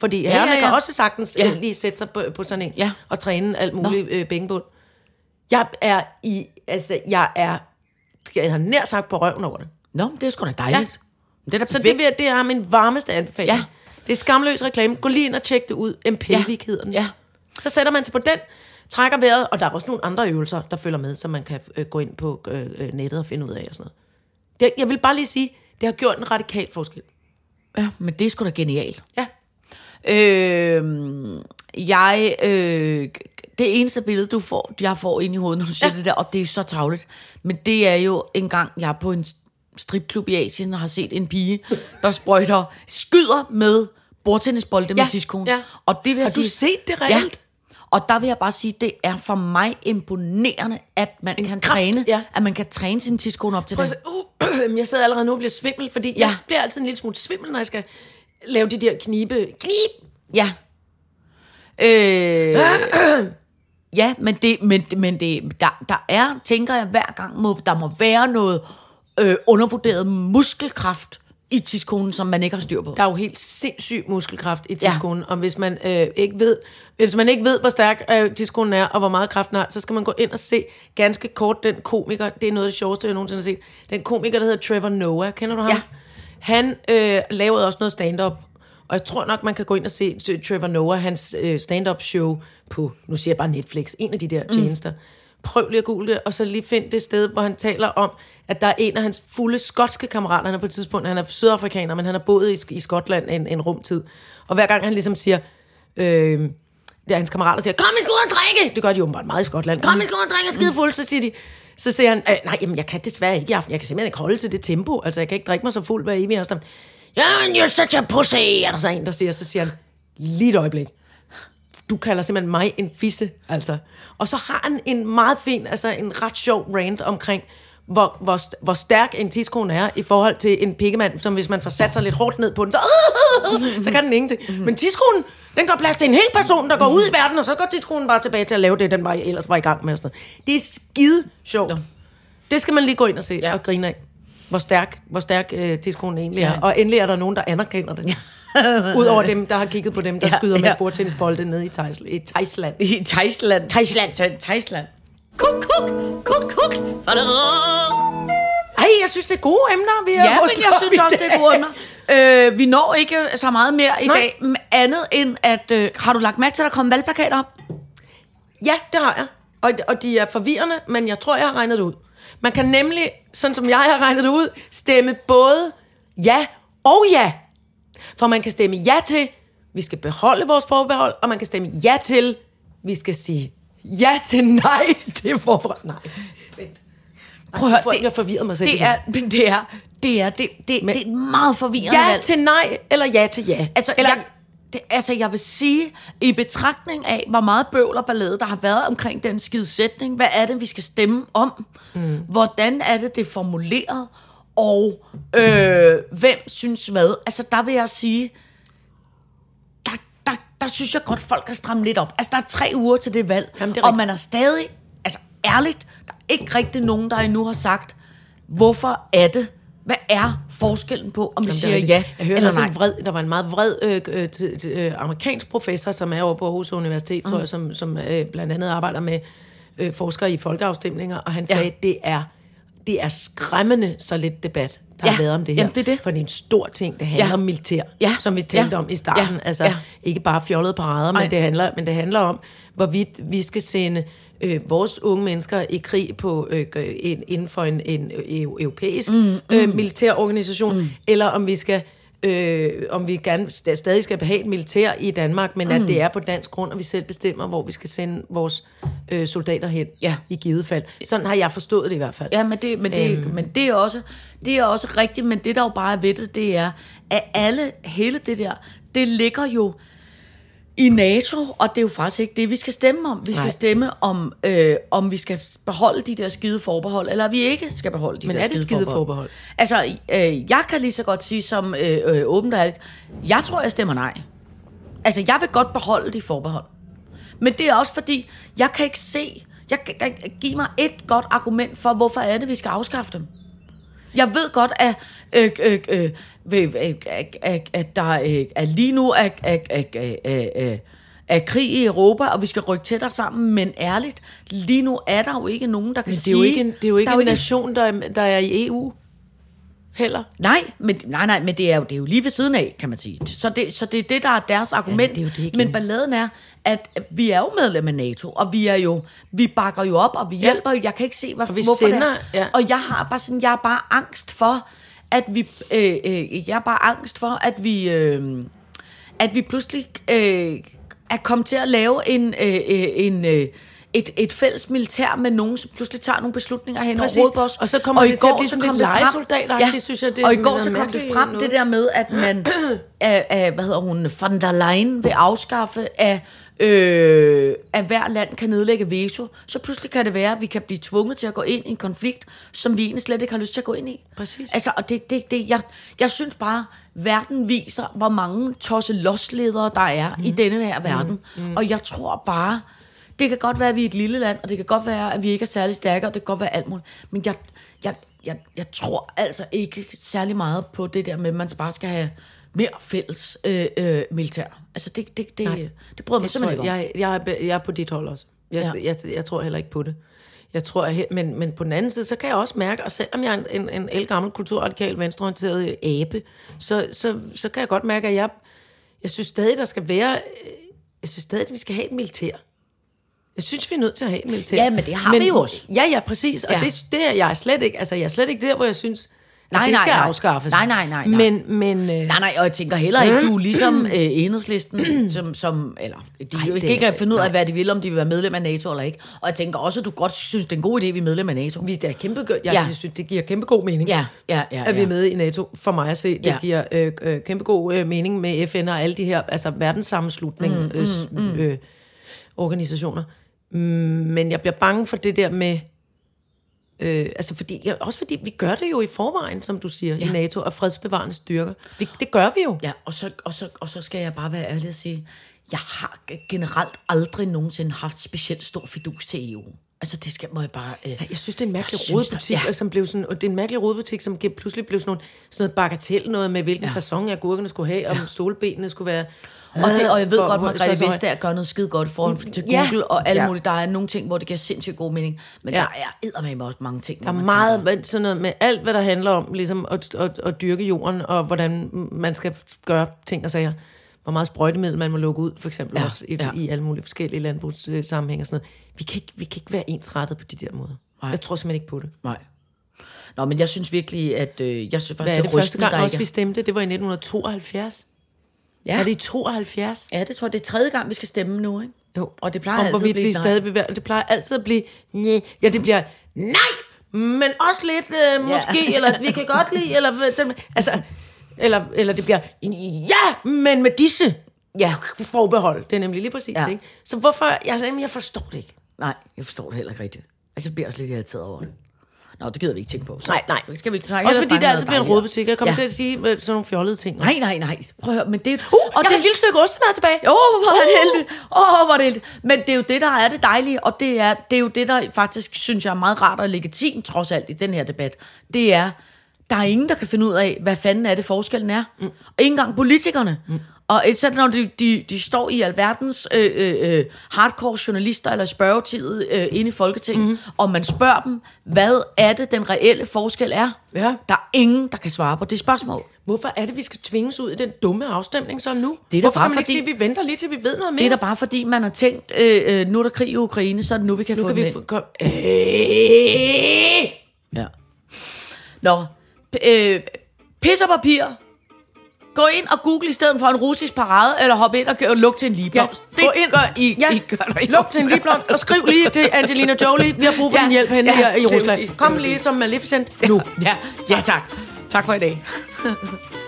Speaker 3: fordi herrerne ja, ja, ja. kan også sagtens ja.
Speaker 4: Ja.
Speaker 3: lige sætte sig på, på sådan en
Speaker 4: Ja.
Speaker 3: og træne alt muligt øh, bængebund. Jeg er i, altså, jeg er, jeg har nær sagt på røven over det.
Speaker 4: Nå, det er sgu da dejligt. Ja. Det er da
Speaker 3: Så det, vil, jeg- det er min varmeste anbefaling.
Speaker 4: Ja.
Speaker 3: Det er skamløs reklame. Gå lige ind og tjek det ud. Empelvik hedder den.
Speaker 4: Ja.
Speaker 3: Så sætter man sig på den, trækker vejret, og der er også nogle andre øvelser, der følger med, som man kan øh, gå ind på øh, øh, nettet og finde ud af og sådan noget. Det, jeg vil bare lige sige, det har gjort en radikal forskel.
Speaker 4: ja, men det er sgu da genialt.
Speaker 3: Ja.
Speaker 4: Øh, jeg, øh, det eneste billede, du får, jeg får ind i hovedet, når du siger ja. det der, og det er så tavligt, men det er jo en gang, jeg er på en stripklub i Asien og har set en pige, der sprøjter, skyder med bordtennisbolde med
Speaker 3: Ja,
Speaker 4: tidskone.
Speaker 3: ja.
Speaker 4: Og det vil jeg
Speaker 3: Har du
Speaker 4: sige,
Speaker 3: set det reelt?
Speaker 4: Og der vil jeg bare sige, det er for mig imponerende, at man kan
Speaker 3: kraft,
Speaker 4: træne,
Speaker 3: ja.
Speaker 4: at man kan træne sin tidskone op til
Speaker 3: Prøv
Speaker 4: det.
Speaker 3: at se, uh, jeg sidder allerede nu og bliver svimmel, fordi ja. jeg
Speaker 4: Ja.
Speaker 3: bliver altid en lille smule svimmel, når jeg skal lave de der knibe. Knib!
Speaker 4: Ja. Øh, ja, men det, men, men det, der, der er, tænker jeg hver gang, må, der må være noget øh, undervurderet muskelkraft i tidskonen, som man ikke har styr på.
Speaker 3: Der er jo helt sindssyg muskelkraft i tidskonen, ja. og hvis man, øh, ikke ved, hvis man ikke ved, hvor stærk øh, tidskonen er, og hvor meget kraften har, så skal man gå ind og se ganske kort den komiker, det er noget af det sjoveste, jeg nogensinde har set, den komiker, der hedder Trevor Noah, kender du ham?
Speaker 4: Ja.
Speaker 3: Han øh, lavede også noget stand-up, og jeg tror nok, man kan gå ind og se T- Trevor Noah, hans øh, stand-up show på, nu siger jeg bare Netflix, en af de der tjenester. Prøv lige at google det, og så lige find det sted, hvor han taler om, at der er en af hans fulde skotske kammerater, han er på et tidspunkt, han er sydafrikaner, men han har boet i, Sk- i Skotland en, en rumtid. Og hver gang han ligesom siger, øh, der hans kammerater siger, kom, vi skal ud og drikke! Det gør de åbenbart meget i Skotland. Kom, vi skal ud og drikke og skide fuld, så siger de. Så siger han, "Øh, nej, jamen, jeg kan desværre ikke i aften. Jeg kan simpelthen ikke holde til det tempo. Altså, jeg kan ikke drikke mig så fuld hver evig aften. Yeah, you're such a pussy, er der så en, der siger. Så siger han, lige et øjeblik. Du kalder simpelthen mig en fisse, altså. Og så har han en meget fin, altså en ret sjov rant omkring, hvor, hvor, st- hvor stærk en tidskone er i forhold til en pikkemand, som hvis man får sat sig lidt hårdt ned på den, så, så kan den ingenting. Men tidskonen, den gør plads til en hel person, der går ud i verden, og så går tidskonen bare tilbage til at lave det, den var, ellers var i gang med. Og sådan noget. Det er skide sjovt. Det skal man lige gå ind og se ja. og grine af. Hvor stærk, hvor stærk øh, tidskonen egentlig ja.
Speaker 4: Ja.
Speaker 3: er. Og endelig er der nogen, der anerkender det. Udover dem, der har kigget på dem, der
Speaker 4: Ja,
Speaker 3: ja, skyder med
Speaker 4: ja.
Speaker 3: ja. bordtennisbolde nede i Thais- i Thailand.
Speaker 4: I Thailand.
Speaker 3: Thailand.
Speaker 4: Thailand.
Speaker 2: Kuk, kuk, kuk, kuk.
Speaker 3: Ej, jeg synes, det er gode emner, vi har
Speaker 4: Ja,
Speaker 3: rundt
Speaker 4: men jeg
Speaker 3: om
Speaker 4: synes
Speaker 3: i
Speaker 4: også,
Speaker 3: dag.
Speaker 4: det er gode emner. Øh, vi når ikke så meget mere i
Speaker 3: Nej.
Speaker 4: dag, m- andet end at... Øh, har du lagt mærke til, at der kom valgplakater op?
Speaker 3: Ja, det har jeg. Og, og de er forvirrende, men jeg tror, jeg har regnet det ud. Man kan nemlig, sådan som jeg har regnet det ud, stemme både ja og ja. For man kan stemme ja til, vi skal beholde vores forbehold, og man kan stemme ja til, vi skal sige ja til nej til forbehold. Nej, vent.
Speaker 4: Prøv at
Speaker 3: Folk,
Speaker 4: høre,
Speaker 3: jeg
Speaker 4: det,
Speaker 3: forvirret mig selv.
Speaker 4: det
Speaker 3: igen.
Speaker 4: er, men det er, det er, det, det,
Speaker 3: Men-
Speaker 4: det er et meget forvirrende
Speaker 3: ja
Speaker 4: valg.
Speaker 3: til nej, eller ja til ja.
Speaker 4: Altså,
Speaker 3: eller,
Speaker 4: eller, jeg, det, altså, jeg vil sige, i betragtning af, hvor meget bøvl og ballade, der har været omkring den skide sætning, hvad er det, vi skal stemme om? Mm. Hvordan er det, det er formuleret? Og øh, hvem synes hvad? Altså, der vil jeg sige, der, der, der synes jeg godt, folk kan stramme lidt op. Altså, der er tre uger til det valg,
Speaker 3: Jamen, det er
Speaker 4: og
Speaker 3: rigtigt.
Speaker 4: man er stadig, altså ærligt, der er ikke rigtig nogen, der endnu har sagt, hvorfor er det? Hvad er forskellen på, om vi
Speaker 3: Jamen,
Speaker 4: siger
Speaker 3: det er
Speaker 4: ja
Speaker 3: rigtigt. jeg hører
Speaker 4: eller
Speaker 3: også
Speaker 4: nej?
Speaker 3: En vred, der var en meget vred øh, øh, t- t- øh, amerikansk professor, som er over på Aarhus Universitet, mm. tror jeg, som, som øh, blandt andet arbejder med øh, forskere i folkeafstemninger, og han
Speaker 4: Ja.
Speaker 3: ja. sagde, at det er, det er skræmmende så lidt debat, der
Speaker 4: Ja,
Speaker 3: har været om det her.
Speaker 4: jamen, det er det.
Speaker 3: For det er en stor ting, det handler
Speaker 4: Ja.
Speaker 3: om militær,
Speaker 4: Ja,
Speaker 3: som vi talte
Speaker 4: ja,
Speaker 3: om i starten.
Speaker 4: ja,
Speaker 3: Altså,
Speaker 4: ja.
Speaker 3: ikke bare fjollede parader,
Speaker 4: Ej.
Speaker 3: men det, handler, men det handler om, hvorvidt vi skal sende øh, vores unge mennesker i krig på øh, gø- en, inden for en, en øh, eu- europæisk mm, mm. Øh, militær organisation, mm. eller om vi skal øh, om vi gerne st- stadig skal have et militær i Danmark, men mm. at det er på dansk grund, og vi selv bestemmer, hvor vi skal sende vores øh, soldater hen
Speaker 4: Ja.
Speaker 3: i givet fald. Sådan har jeg forstået det i hvert fald.
Speaker 4: Ja, men det, men det, øhm. men det er også det er også rigtigt, men det der jo bare er ved det, det er at alle hele det der, det ligger jo i NATO, og det er jo faktisk ikke det, vi skal stemme om. Vi skal Nej.
Speaker 3: Nej.
Speaker 4: stemme om, øh, om vi skal beholde de der skide forbehold, eller vi ikke skal beholde de
Speaker 3: Men
Speaker 4: der
Speaker 3: er det
Speaker 4: skide
Speaker 3: skide
Speaker 4: forbehold.
Speaker 3: forbehold?
Speaker 4: Altså, øh, jeg kan lige så godt sige som øh, øh, åbent og ærligt, jeg tror, jeg stemmer nej. Altså, jeg vil godt beholde de forbehold. Men det er også fordi, jeg kan ikke se, jeg kan, kan, give mig et godt argument for, hvorfor er det, vi skal afskaffe dem. Jeg ved godt, at, øh, øh, øh, ved- øh, at, at, at der øh, er lige nu er, er, er, er, er, er, er krig i Europa, og vi skal rykke tættere sammen, men ærligt, lige nu er der jo ikke nogen, der kan
Speaker 3: Men det er
Speaker 4: sige...
Speaker 3: jo ikke en, det er jo ikke
Speaker 4: der
Speaker 3: en nation, der er, der er i EU heller.
Speaker 4: Nej, men, nej, nej, men det er, jo, det er jo lige ved siden af, kan man sige. Så det, så det er det, der er deres argument.
Speaker 3: det er jo det igen.
Speaker 4: men balladen er, at vi er jo medlem af NATO, og vi er jo, vi bakker jo op, og vi hjælper jo. Jeg kan ikke se, hvad,
Speaker 3: Og vi
Speaker 4: hvorfor
Speaker 3: sender,
Speaker 4: det er.
Speaker 3: ja.
Speaker 4: Og jeg har bare sådan, jeg er bare angst for, at vi, øh, øh, jeg er bare angst for, at vi, øh, at vi pludselig øh, er kommet til at lave en, øh, øh, en øh, et, et fælles militær med nogen, som pludselig tager nogle beslutninger hen over
Speaker 3: Præcis.
Speaker 4: hovedet på os.
Speaker 3: Og så kommer
Speaker 4: og
Speaker 3: det til
Speaker 4: i
Speaker 3: at
Speaker 4: går
Speaker 3: blive
Speaker 4: så
Speaker 3: sådan
Speaker 4: kom
Speaker 3: lidt
Speaker 4: frem.
Speaker 3: legesoldateragtigt, synes jeg, det
Speaker 4: og i går
Speaker 3: minder
Speaker 4: så kom det
Speaker 3: mærkeligt
Speaker 4: frem,
Speaker 3: noget.
Speaker 4: det der med, at man, af, af, hvad hedder hun, von der Leyen vil afskaffe, at, øh, at hver land kan nedlægge veto, så pludselig kan det være, at vi kan blive tvunget til at gå ind i en konflikt, som vi egentlig slet ikke har lyst til at gå ind i.
Speaker 3: Præcis.
Speaker 4: Altså, og det, det, det jeg, jeg synes bare, verden viser,
Speaker 3: Mm.
Speaker 4: hvor mange tosse losledere der er mm. i denne her verden. Mm. Og jeg tror bare, Det kan godt være, at vi er et lille land, og det kan godt være, at vi ikke er særlig stærke, og det kan godt være alt muligt. Men jeg, jeg, jeg, jeg tror altså ikke særlig meget på det der med, at man bare skal have mere fælles øh, øh, militær. Altså, det, det, det, det, det bryder jeg
Speaker 3: Jeg, tror,
Speaker 4: mig simpelthen ikke om.
Speaker 3: jeg, jeg, er, jeg er på dit hold også. Jeg,
Speaker 4: Ja.
Speaker 3: ja. jeg, jeg tror heller ikke på det. Jeg tror, jeg, he- men, men på den anden side, så kan jeg også mærke, og selvom jeg er en, en, en elgammel kulturradikal venstreorienteret øh, abe, så, så, så kan jeg godt mærke, at jeg, jeg synes stadig, der skal være... øh, Jeg synes stadig, at vi skal have et militær. Jeg synes, vi er nødt til at have et militær.
Speaker 4: Ja, men det har vi jo også.
Speaker 3: Ja, ja, præcis. Og
Speaker 4: Ja.
Speaker 3: ja. Det, det er jeg er slet ikke. Altså, jeg er slet ikke der, hvor jeg synes, at
Speaker 4: Nej,
Speaker 3: det
Speaker 4: nej,
Speaker 3: skal
Speaker 4: nej.
Speaker 3: afskaffes.
Speaker 4: Nej, nej, nej, nej.
Speaker 3: Men, men, øh,
Speaker 4: Nej, nej, og jeg tænker heller ikke, du er ligesom øh, enhedslisten, som, som eller, de Ej,
Speaker 3: det
Speaker 4: det,
Speaker 3: er-
Speaker 4: ikke kan finde ud af, hvad de vil, om de vil være medlem af NATO eller ikke. Og jeg tænker også, at du godt synes, det er en god idé, at vi er medlem af NATO.
Speaker 3: Vi, det, er kæmpe, jeg,
Speaker 4: Ja.
Speaker 3: ja. jeg synes, det giver kæmpe god mening,
Speaker 4: Ja, ja, ja,
Speaker 3: at vi
Speaker 4: ja.
Speaker 3: er med i NATO. For mig at se, det
Speaker 4: Ja.
Speaker 3: ja. giver øh, øh, kæmpe god øh, mening med FN og alle de her altså, verdenssammenslutning mm, mm, øh, øh, organisationer. Mm, Men jeg bliver bange for det der med... Øh, altså fordi, ja, også fordi vi gør det jo i forvejen, som du siger, ja. i NATO, og fredsbevarende styrker. Vi, det gør vi jo.
Speaker 4: Ja, og så, og, så, og så skal jeg bare være ærlig og sige, jeg har g- generelt aldrig nogensinde haft specielt stor fidus til EU. Altså, det skal må jeg bare... Øh,
Speaker 3: Jeg synes, det er en mærkelig
Speaker 4: Jeg synes, der-
Speaker 3: rodebutik,
Speaker 4: ja.
Speaker 3: ja. som blev sådan, og det er en mærkelig rodebutik, som ge- pludselig blev sådan, nogle, sådan noget bagatel, noget med, hvilken ja. façon agurkerne skulle have, om ja. stolbenene skulle være...
Speaker 4: og, det, og jeg ved
Speaker 3: Hvor-
Speaker 4: godt,
Speaker 3: hvor-
Speaker 4: at Margrethe
Speaker 3: så- så-
Speaker 4: Vestager gør noget skide godt for til
Speaker 3: Ja.
Speaker 4: Google og alt
Speaker 3: Ja.
Speaker 4: muligt. Der er nogle ting, hvor det giver sindssygt god mening, men
Speaker 3: Ja.
Speaker 4: der er eddermame også mange ting,
Speaker 3: Der er meget med, sådan noget med alt, hvad der handler om ligesom at, at, at dyrke jorden, og hvordan man skal gøre ting og sager. Hvor meget sprøjtemiddel man må lukke ud, for eksempel
Speaker 4: Ja,
Speaker 3: ja, også i,
Speaker 4: ja.
Speaker 3: ja. i alle mulige forskellige landbrugssammenhæng og sådan noget. Vi kan, ikke, vi kan ikke være ensrettet på de der måder.
Speaker 4: Nej.
Speaker 3: Jeg tror simpelthen ikke på det.
Speaker 4: Nej. Nå, men jeg synes virkelig, at... Øh, jeg synes faktisk,
Speaker 3: Hvad er det, det første
Speaker 4: rystende,
Speaker 3: gang,
Speaker 4: der
Speaker 3: også vi
Speaker 4: ikke
Speaker 3: stemte? Det var i 1972.
Speaker 4: er-
Speaker 3: Ja. Er det
Speaker 4: ja.
Speaker 3: i 72?
Speaker 4: ja, det tror jeg. Det er tredje gang, vi skal stemme nu, ikke?
Speaker 3: Jo.
Speaker 4: Og det plejer
Speaker 3: Om
Speaker 4: altid at
Speaker 3: hvorvidt
Speaker 4: blive
Speaker 3: vi
Speaker 4: et nej.
Speaker 3: stadig bevæger, det plejer altid at blive, nej. Ja, det bliver, nej, men også lidt, øh, måske,
Speaker 4: Ja.
Speaker 3: ja. eller vi kan godt lide, eller, hvad den, altså, eller, eller det bliver, ja, men med disse
Speaker 4: Ja.
Speaker 3: forbehold. Det er nemlig lige præcis
Speaker 4: Ja.
Speaker 3: ja. det, ikke? Så hvorfor, altså, jamen, jeg forstår det ikke.
Speaker 4: Nej, jeg forstår det heller ikke rigtigt. Altså, jeg bliver også lidt irriteret over det. Nå, det gider vi ikke tænke på. Så.
Speaker 3: Nej, nej.
Speaker 4: Det skal vi snakke
Speaker 3: også
Speaker 4: ellers
Speaker 3: fordi
Speaker 4: snakke
Speaker 3: det altid
Speaker 4: noget
Speaker 3: bliver en
Speaker 4: dejligere.
Speaker 3: rådbutik. Jeg kommer ja. til at sige øh, sådan nogle fjollede ting.
Speaker 4: Nej, nej, nej. Prøv at høre, men det... Uh,
Speaker 3: og jeg det... har et lille stykke ostemad tilbage.
Speaker 4: Åh, oh, hvor er det heldigt. Åh, oh, hvor er det heldigt. Men det er jo det, der er det dejlige, og det er, det er jo det, der faktisk synes jeg er meget rart og legitimt, trods alt, i den her debat. Det er, der er ingen, der kan finde ud af, hvad fanden er det, forskellen er. Mm. Og ikke engang politikerne. Mm. Og især når de, de, de står i alverdens øh, øh, øh, hardcore journalister eller spørgetiet øh, inde i Folketinget, mm. og man spørger dem, hvad er det, den reelle forskel er.
Speaker 3: Ja.
Speaker 4: Der er ingen, der kan svare på det spørgsmål.
Speaker 3: Hvorfor er det, vi skal tvinges ud i den dumme afstemning så nu?
Speaker 4: da
Speaker 3: Hvorfor
Speaker 4: bare
Speaker 3: kan man
Speaker 4: fordi-
Speaker 3: ikke sige, at vi venter lige, til vi ved noget mere?
Speaker 4: Det er da bare fordi, man har tænkt, øh, øh, nu er der krig i Ukraine, så er det nu, vi kan
Speaker 3: nu
Speaker 4: få
Speaker 3: kan
Speaker 4: dem
Speaker 3: vi
Speaker 4: ind.
Speaker 3: få... Kom... Øh!
Speaker 4: Ja. Nå, p- øh, pis og papir. Gå ind og google i stedet for en russisk parade, eller hop ind og g- luk til en ligeblomst.
Speaker 3: gå ind.
Speaker 4: gør I,
Speaker 3: Ja.
Speaker 4: I gør der ikke.
Speaker 3: Luk til en lipblomst, og skriv lige til Angelina Jolie, vi har brug for
Speaker 4: Ja,
Speaker 3: ja, din hjælp henne
Speaker 4: ja,
Speaker 3: ja, her
Speaker 4: det
Speaker 3: i
Speaker 4: er
Speaker 3: Rusland.
Speaker 4: præcis, det er
Speaker 3: Kom
Speaker 4: præcis.
Speaker 3: lige som Maleficent nu.
Speaker 4: Ja, ja tak. Tak for i dag.